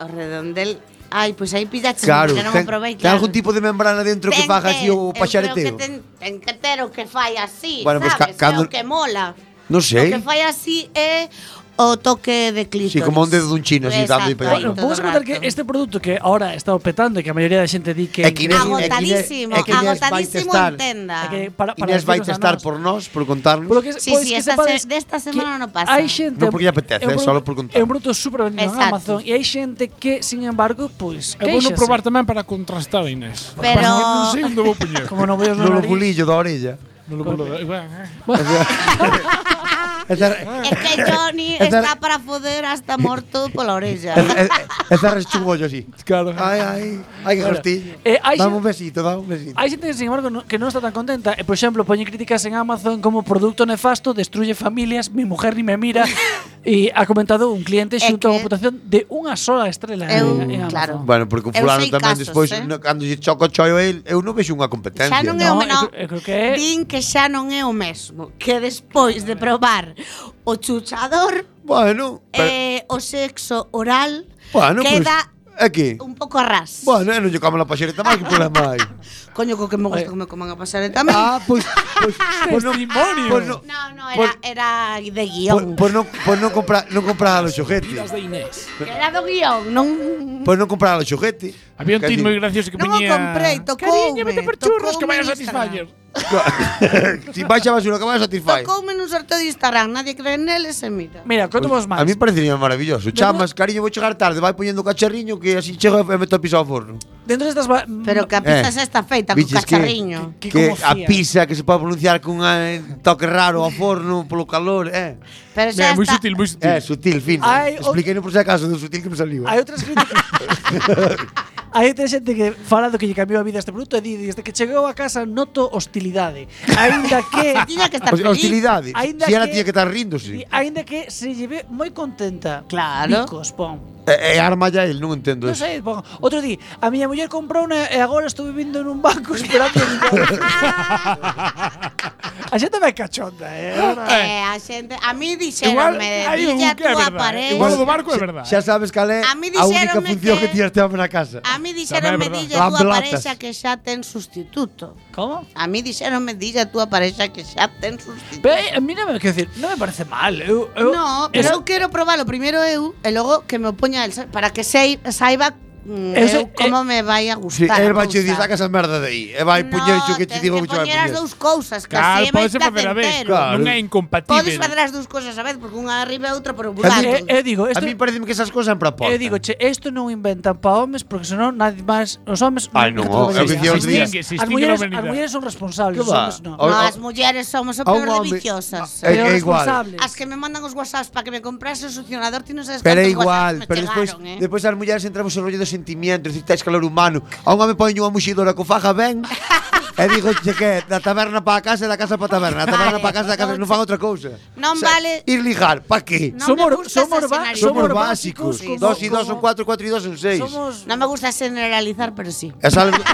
S7: O redondel. pues Ai, pois aí pillaches,
S5: Claro,
S7: que non
S5: ten,
S7: o probei,
S5: ten
S7: claro.
S5: algún tipo de membrana dentro que
S7: Ten
S5: faga así o
S7: Eu creo
S5: paxareteo.
S7: que ten, ten que ter o que fai así,
S5: Bueno, pois
S7: sabes?
S5: ca- cando-
S7: Que é o que mola.
S5: Non sei.
S7: O que fai así é o toque de clítoris.
S5: Sí, como un dedo dun chino, así, dando
S7: Exacto,
S5: e
S7: aí
S5: pegando.
S7: todo
S3: Vamos a
S7: o
S3: contar
S7: rato.
S3: que este produto que ahora está petando e que a maioría da xente di que
S5: É que Inés-
S7: Agotadísimo,
S5: é que Inés vai
S7: agotadísimo
S5: testar.
S7: en tenda.
S3: é que para, para
S5: Inés vai
S3: decirnos a
S5: testar
S3: nós.
S5: por nós, por contarnos.
S3: Polo que,
S7: Ah. Sí,
S3: pois
S7: sí,
S3: que
S7: esta
S3: sepades
S7: se- desta
S3: que
S7: semana non pasa.
S3: Hai xente,
S5: Non porque lle
S3: é
S5: apetece,
S3: un
S5: eh,
S3: produto-
S5: solo por contar.
S3: É un produto super vendido en
S7: Exacto.
S3: Amazon e hai xente que, sin embargo, pues, pois,
S4: É bueno
S3: quéixase.
S4: probar tamén para contrastar, Inés.
S7: Pero-
S4: Non sei onde vou puñer.
S3: Como non veo
S5: No lo pulillo da orella.
S4: Non lo vou levar.
S5: Esa,
S7: É que Johnny
S5: Esta-
S7: está para foder hasta morto pola orella.
S5: esa un bollo así.
S4: Claro.
S5: Ay, ay, ay, que
S3: Bueno,
S5: hostia.
S3: eh, hai xe-
S5: dame un besito, dame un besito.
S3: Hai xente, sin embargo, no- que non está tan contenta e, por exemplo, poñen críticas en Amazon como produto nefasto, destruye familias, mi mujer ni me mira e ha comentado un
S7: É
S3: cliente xunto a
S7: que-
S3: unha puntuación de unha sola estrela
S7: Eu-
S3: en, en
S7: claro.
S3: Amazon.
S5: Bueno, porque o
S7: Eu
S5: fulano
S7: sei
S5: tamén
S7: casos,
S5: despois,
S7: eh.
S5: no- cando lle choca o choio a el, eu non vexo unha competencia.
S7: Xa non é o
S3: No,
S7: menor.
S3: eu creo- eu creo que é-
S7: Din que xa non é o mesmo. Que despois de probar o chuchador,
S5: Bueno, pero,
S7: eh, o sexo oral
S5: bueno,
S7: queda
S5: pues, aquí.
S7: un pouco a ras.
S5: Bueno, eu non lle como a paxereta máis, que problema hai?
S7: Coño, co que me gusta que me coman a pasar tamén.
S5: ah, pois, pois, pois non,
S8: Testimonio.
S5: pois non,
S7: No, no,
S5: Por-
S7: era, era de
S5: pois,
S7: guión.
S5: pois non, pois non comprar, non comprar a los xoguetes.
S7: Era do guión, non...
S5: Pois non comprar a los xoguetes.
S4: Había un
S5: Quer
S4: tin
S5: dicir,
S4: moi gracioso que
S7: Non o
S4: poñía...
S7: comprei, tocoume.
S4: Cariño, vete por
S7: tocoume
S4: churros que vai a
S7: en Instagram".
S4: satisfacer.
S5: si baixa basura que vai satisfai.
S7: Tocoume nun sorteo de Instagram, nadie cree nel e se mira.
S3: Mira, conto vos máis.
S5: Pues A mí parecería maravilloso. Chamas, cariño, vou chegar tarde, vai poñendo cacharriño que así chego e meto a pisa ao forno.
S3: Dentro destas ba-
S7: Pero que a pizza xa está feita con
S5: Viches Eh. que-
S7: cacharriño.
S5: Que, a pizza que se pode pronunciar cun eh, toque raro ao forno polo calor, eh.
S7: Pero xa Mira, moi está- sutil,
S5: moi sutil. É, sutil, fin.
S3: Hai o-
S5: Expliquei por si acaso do sutil que me saliu. eh.
S3: Hai outras críticas. Hai outra xente que fala do que lle cambiou a vida este produto e di, desde que chegou a casa noto hostilidade. Ainda que...
S7: tiña que
S5: estar Hos- feliz. hostilidade.
S3: Ainda
S5: Si ela tiña que estar ríndose.
S3: Di, Ainda que se lle ve moi contenta.
S7: Claro.
S3: Bicos, pon.
S5: E, e arma ya el, non
S3: Non
S5: entendo eso.
S3: sei, pon. Outro di, a miña muller comprou una, e agora estou vivindo nun banco esperando... a xente vai cachonda, eh?
S7: Eh, a xente, a mí dixéronme,
S3: Igual hai un
S7: dilla
S3: que é
S7: tú
S3: verdad,
S7: aparece.
S3: igual o do
S5: barco é verdad. Xa sabes cal é
S7: A mí
S5: a única
S7: dixéronme
S5: función que,
S7: que-
S5: que tiñas te home na casa.
S7: A mí dixéronme, dilla tú a parexa que xa ten sustituto.
S3: Como?
S7: A mí dixéronme, dilla tú a parexa que xa ten sustituto.
S3: Pero eh, a mí non me, quero decir, non me parece mal. Eu, eu,
S7: No, pero eu
S3: esa-
S7: quero probalo primeiro eu e logo que me opoña el para que sei, saiba mm,
S5: Eso,
S7: eu como me vai a
S5: Si,
S7: gustar.
S5: el
S7: a
S5: vai che dir,
S7: cousa".
S5: saca esa merda de aí. E vai
S7: No,
S5: poñer iso que te
S7: tens
S5: digo
S7: que
S5: que che vai
S7: poñer as
S5: poñer.
S7: dous cousas, que
S5: Claro,
S7: así é máis
S5: podese facer a vez,
S7: placentero.
S5: claro. Non é
S3: incompatible.
S7: Podes facer as dúas cousas a vez, porque unha arriba e outra por un
S3: Eh, eh, digo, esto-
S5: A mí pareceme que esas em cousas sempre
S3: Eu
S5: aportan.
S3: digo, che, isto non inventan pa homes porque senón nadie máis, os homes
S5: Ai, non,
S3: nunca
S5: o
S3: traballan.
S5: que dicía os días. Se extingue, se
S3: As
S5: extingue
S3: mulleres,
S5: a
S3: as
S5: humanidade.
S3: mulleres son responsables,
S5: Que
S3: os
S5: va?
S3: homes non.
S5: O-
S7: No,
S5: o-
S7: as mulleres somos o
S5: a un
S7: peor de
S5: home- eh.
S7: viciosas.
S5: É que é igual. Responsables.
S7: As que me mandan os whatsapps para que me compras o succionador, ti non sabes
S5: Pero é
S7: cantos
S5: igual,
S7: whatsapps me
S5: pero despois,
S7: chegaron, eh.
S5: despois as mulleres entramos no rollo do sentimento, necesitáis calor humano. A un home poño unha muxidora co faja ben, e digo, che que, da taberna para a casa e da casa para a taberna, da taberna para a casa, e da casa, non fan outra cousa.
S7: Non vale-
S5: Ir ligar, pa qué?
S7: Non Somos- me gusta somos ese ba- escenario.
S5: somos
S7: somos
S5: básicos.
S7: básicos como-
S5: dos y dos son
S7: como-
S5: cuatro, cuatro y dos son seis.
S7: Non me gusta generalizar, pero sí.
S5: E sales, do-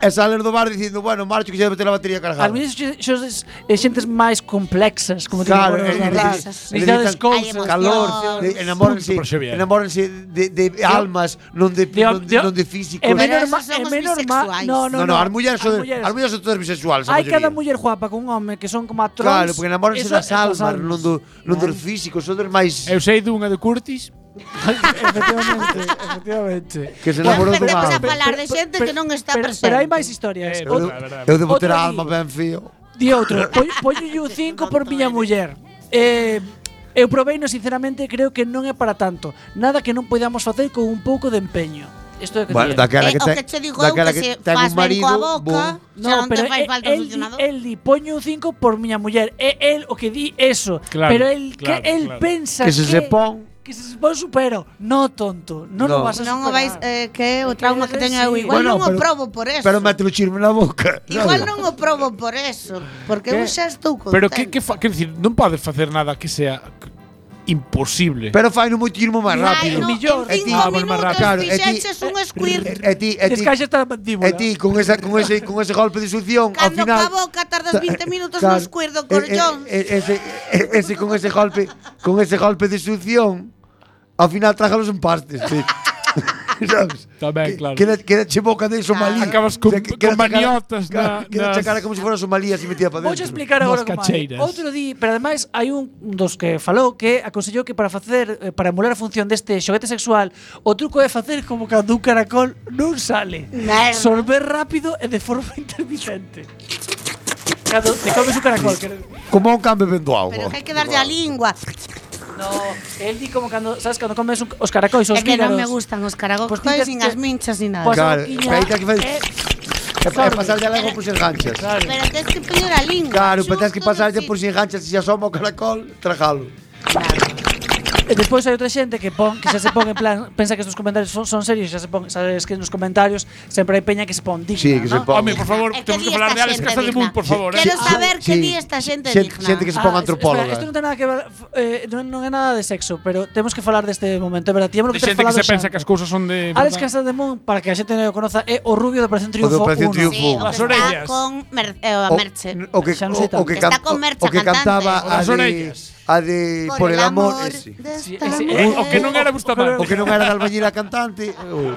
S5: e sales do bar dicindo, bueno, marcho que xa meter a batería
S3: As
S5: cargada.
S3: mulleres xe- xe- xe- eh, xentes máis complexas, como
S5: Claro,
S3: digo,
S5: eh, necesitan-
S3: necesitas
S5: necesitan
S3: cousas,
S5: calor, eh, enamórense, enamórense de, de, de almas, non de, non de, non de físico.
S3: É menor ma, é menor ma, no, no,
S5: No, no, as mulleres son, as mulleres son todas bisexuales, a
S3: Hai cada
S5: maioría.
S3: muller guapa con un home que son como a trolls.
S5: Claro, porque enamórense
S3: eso-
S5: das almas, non do, non dos físicos, son dos máis...
S4: Eh,
S5: Eu sei dunha de Curtis.
S3: efectivamente, efectivamente.
S5: Que se enamorou dun
S7: Empecemos a
S5: alma.
S7: falar de xente que non está
S3: pero,
S7: presente.
S3: pero hai máis historias.
S5: Eu, eu de botar a alma ben feo.
S3: Di outro, "Poño- poñolle un 5 por miña muller. Eh, eu proveino, sinceramente, creo que non é para tanto. Nada que non podamos facer con un pouco de empeño. Isto é o que diría.
S5: Bueno, daquela que Eh, o ten-
S7: que che digo eu daquela que que se ten faz un ben coa marido, boca, bo. xa non te fai
S3: eh,
S7: falta o
S3: el, di-
S7: succionador.
S3: el di, poño un 5 por miña muller. É el o que di eso.
S5: Claro,
S3: pero el,
S5: claro,
S3: que el
S5: claro.
S3: pensa
S5: Que se se pon.
S3: Que se se pon supero. No, tonto. Non no.
S5: No.
S3: o vas a
S7: Non o
S3: superar.
S7: vais eh, que é o trauma que teño eu igual non
S5: Bueno,
S7: o
S5: pero-
S7: probo por eso.
S5: Pero me atruchirme na boca.
S7: Igual non o probo por eso, porque eu
S4: Que-
S7: xa estou contenta.
S4: Pero que, que fa, quero dicir, non podes facer nada que sea c- imposible.
S5: Pero fai no muitismo máis rápido.
S4: E ti- Ah, bueno, máis rápido.
S7: fixeches un squirt.
S5: E Eh, ti, e ti,
S3: Descaixas a mandíbula.
S5: E ti, con, esa, con, ese, con ese golpe de succión, ao
S7: Cando
S5: final...
S7: ca boca tardas 20 minutos no
S5: Claro.
S7: squirt do
S5: Eh, eh,
S7: corllón.
S5: eh, ese, eh, ese con ese golpe, con ese golpe de succión, ao final trájalos en pastes. Sí. ¿Sabes?
S4: Tamén, claro. Ah,
S5: Queda, queda che boca de somalí. Acabas
S4: con- con maniotas na-
S5: Queda che
S4: nas-
S5: cara como se fora somalía se metía para dentro.
S3: Vouche explicar agora como hai. Outro día, pero ademais hai un dos que falou que aconsellou que para facer eh, para emular a función deste xoguete sexual, o truco é facer como cando un caracol non sale.
S7: Merda.
S3: Sorber rápido e de forma intermitente. Cando te comes un caracol, que
S5: Como un cambio vendo
S7: Pero
S5: agua.
S7: que hai que darlle a lingua.
S3: no, el di como cando, sabes, cando comes un, os caracois, os
S7: É que non
S3: vígaros.
S7: me gustan os
S5: Pues
S7: caragocos
S3: ti tes
S7: sin
S3: que-
S7: as minchas ni nada.
S5: Claro, espera que fai...
S3: eh,
S5: E pasar de algo por sin ganchas.
S7: Pero tens que poñer a lingua.
S5: Claro, pero tens que pasarlle por sin ganchas se xa asoma o caracol, trajalo.
S3: E despois hai outra xente que pon que xa se pon en plan, pensa que estes comentarios son, son serios, xa se pon, sabes que nos comentarios sempre hai peña que se pon digna,
S5: Sí, que se
S3: ¿no?
S5: pon. Home, por
S4: favor,
S7: que temos que di falar esta de Alex xente Casademun, digna? por favor, eh. Ah. Quero saber que di esta xente digna.
S5: Xente que se pon
S3: Ah,
S5: antropóloga.
S3: Espera, isto non ten nada que ver, f- eh, non, non é nada de sexo, pero temos que falar deste momento, é verdade, tiñamos
S4: Hai
S3: que ter
S4: xente que
S3: falado
S4: se
S3: xa.
S4: pensa que as cousas son de...
S3: Alex Casademón, para que a xente non o conoza, é o rubio de Operación Triunfo
S4: O de
S3: 1.
S4: Operación Triunfo. Sí, o que
S3: As
S4: está
S3: orellas.
S7: Con Mer eh, a
S5: O-
S7: Merche.
S5: O que,
S3: Xa non sei
S5: o, o que,
S7: tanto.
S5: can-
S7: Está con Merche
S5: o que
S7: cantante.
S5: cantaba
S7: Con
S5: a
S7: las
S5: de,
S7: orellas.
S5: a de
S7: Por
S5: Por
S7: el
S5: el amor.
S7: amor
S5: eh, ese.
S3: O que non era Bustamante.
S5: O que non era de albañil a cantante. o-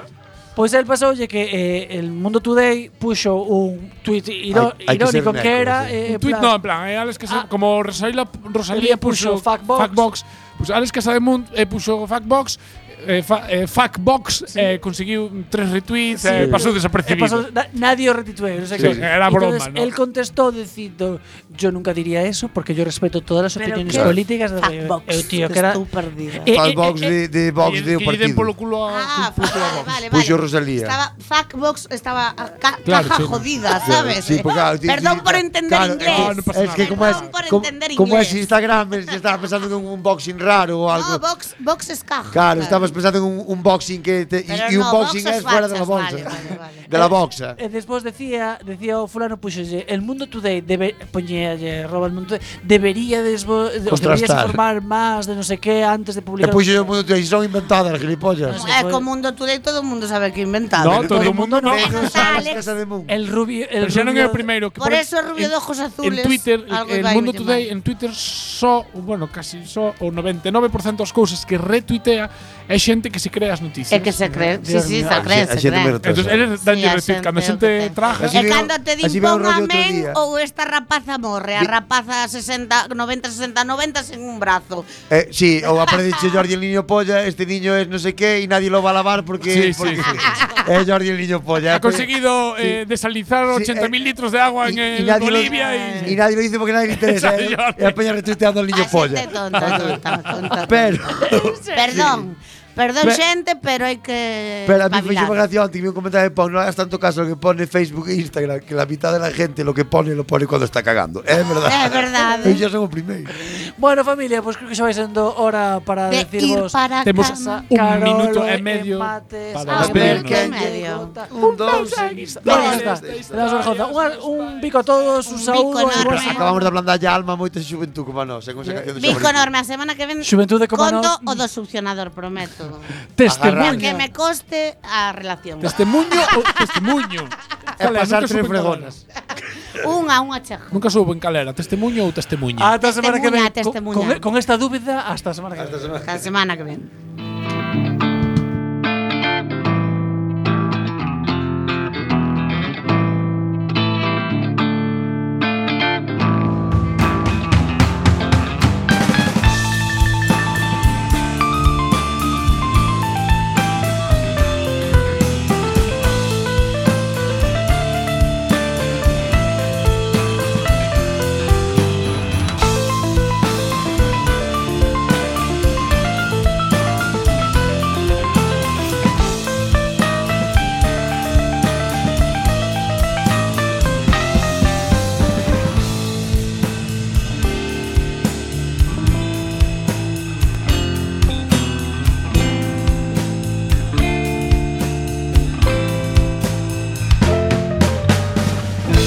S3: Pois el pasoulle que eh, el Mundo Today puxo un tweet iro
S4: Hai- hai que ser
S3: irónico que,
S4: negro,
S3: era
S4: sí.
S3: eh,
S4: Un tuit, no, en plan, eh, Alex, que se- como Rosalía, Rosalía
S3: puxo
S4: puso
S3: Factbox.
S4: Factbox, Pois Alex Casademont eh, puxo Factbox, eh, fa, eh, Factbox eh, conseguiu tres retweets, eh, pasou desapercibido.
S3: Eh, pasou- na- nadie o retitué. O sea
S4: Sí,
S3: que,
S4: sí. Era broma,
S3: entonces,
S4: ¿no?
S3: Él contestó diciendo, yo nunca diría eso porque yo respeto todas las
S7: Pero
S3: opiniones
S7: qué
S3: políticas de
S7: fuckbox,
S3: Eh, tío,
S7: que
S3: que era... Eh,
S7: estou perdida.
S5: Factbox de- de Vox
S4: Que lle-
S5: de o
S4: que lle den
S5: partido.
S4: polo culo a...
S7: Ah, vale, vale, vale.
S5: Puxo Rosalía.
S7: Estaba, Factbox estaba a ca-
S5: Claro,
S7: caja
S5: sí.
S7: jodida,
S5: Sí,
S7: ¿sabes?
S5: sí, porque, claro,
S7: Perdón
S5: sí,
S7: por
S5: sí,
S7: entender
S5: claro,
S7: inglés.
S5: no, no pasa
S7: Perdón
S5: nada. Es que como es-
S7: por
S5: como-
S7: entender
S5: como
S7: inglés. Ah,
S5: es Instagram, es- estaba pensando en un unboxing raro o algo.
S7: No, box, box es caja.
S5: Claro, estabas pensando en un unboxing que te,
S7: Pero
S5: y, y
S7: no,
S5: unboxing
S7: boxes
S5: es fuera de la bolsa.
S7: falsas, vale, vale,
S5: De la boxa.
S3: E despois decía, decía o fulano puxolle, el mundo today debe poñéalle arroba el mundo today, deberíades vo- de- os deberías
S5: Contrastar.
S3: informar máis de non sei que antes de
S5: E
S3: publicar.
S5: puxo yo mundo e son inventadas, gilipollas.
S7: Eh, con Mundo Today todo o mundo sabe que inventado.
S5: No, todo o mundo
S7: no.
S5: non.
S7: Menos Alex.
S3: El rubio, el
S4: Pero xa non é o
S3: rubio-
S4: primeiro que
S7: Por eso é rubio de ojos azules.
S4: En Twitter,
S7: algo
S4: el
S7: iba a
S4: Mundo
S7: ir
S4: Today,
S7: mal.
S4: en Twitter só, bueno, casi só o 99% das cousas que retuitea é xente que se crea as noticias.
S7: É que se cree, sí, sí, se cree, se cree.
S4: Entón, eles
S7: Sí,
S4: danlle
S7: a
S4: retweet. Cando a
S7: xente o que
S4: xente
S5: este
S7: ten.
S4: traja...
S7: E cando te din pon amén ou esta rapaza morre, a rapaza 60, 90, 60, 90 sen un brazo.
S5: Eh, sí, o aparece Jordi el niño polla, este niño es no sé qué y nadie lo va a lavar porque,
S4: Sí, sí,
S5: porque
S4: sí.
S5: es Jordi el niño polla.
S4: Ha conseguido eh, desalinizar 80.000 litros de agua en el
S5: eh, nadie lo-
S4: Bolivia y...
S5: Y nadie lo dice porque nadie le interesa.
S4: Esa
S5: eh.
S4: Jordi.
S5: Y a Peña retuiteando al niño polla.
S7: tonta, tonta, tonta.
S5: Pero,
S7: Perdón. Perdón,
S5: Pe-
S7: xente, pero hai que
S5: pero a mí me
S7: espabilar.
S5: hizo gracia ontem vi un comentario de Pon, no hagas tanto caso a lo que pone Facebook e Instagram, que la mitad de la gente lo que pone lo pone cuando está cagando. Es verdad.
S7: Es verdad, eh.
S5: Ellos son los primeiro.
S3: Bueno, familia, pois pues creo que xa vai sendo hora para
S7: De ir
S3: decirvos.
S7: para
S4: Temos
S3: casa.
S4: un
S3: Carolo,
S4: minuto e medio
S3: empates, a
S4: para
S3: ver
S4: despedirnos.
S3: quen
S4: Un
S3: lle gota.
S5: Un, dos,
S3: seis. Venga, ya está. Le damos unha jornada. Unha- Un bico a todos, un saúdo. e boas-
S5: Acabamos de ablandar ya alma moita xuventud como a nós, eh, con esa canción de
S7: Vico
S5: Xabarito.
S7: enorme, a semana que ven
S3: Xuventude como
S7: conto
S3: nós.
S7: o do succionador, prometo. Ya
S4: Testemunha.
S7: que me coste a relación.
S4: Testemunho ou testemunho?
S5: É pasar
S4: nunca
S5: tres
S4: supe en cal era.
S5: fregonas.
S7: Unha, unha cheja.
S4: Nunca soubo en cal era, testemunho ou testemunha?
S3: Ata a semana que ven.
S7: Testemunha,
S3: Con-
S7: testemunha.
S3: e- Con, con esta dúbida, hasta a semana que ven.
S7: Hasta a semana que ven.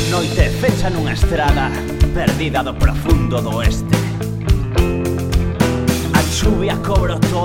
S16: Noite fecha nunha estrada perdida do profundo do oeste A chuvia cobro todo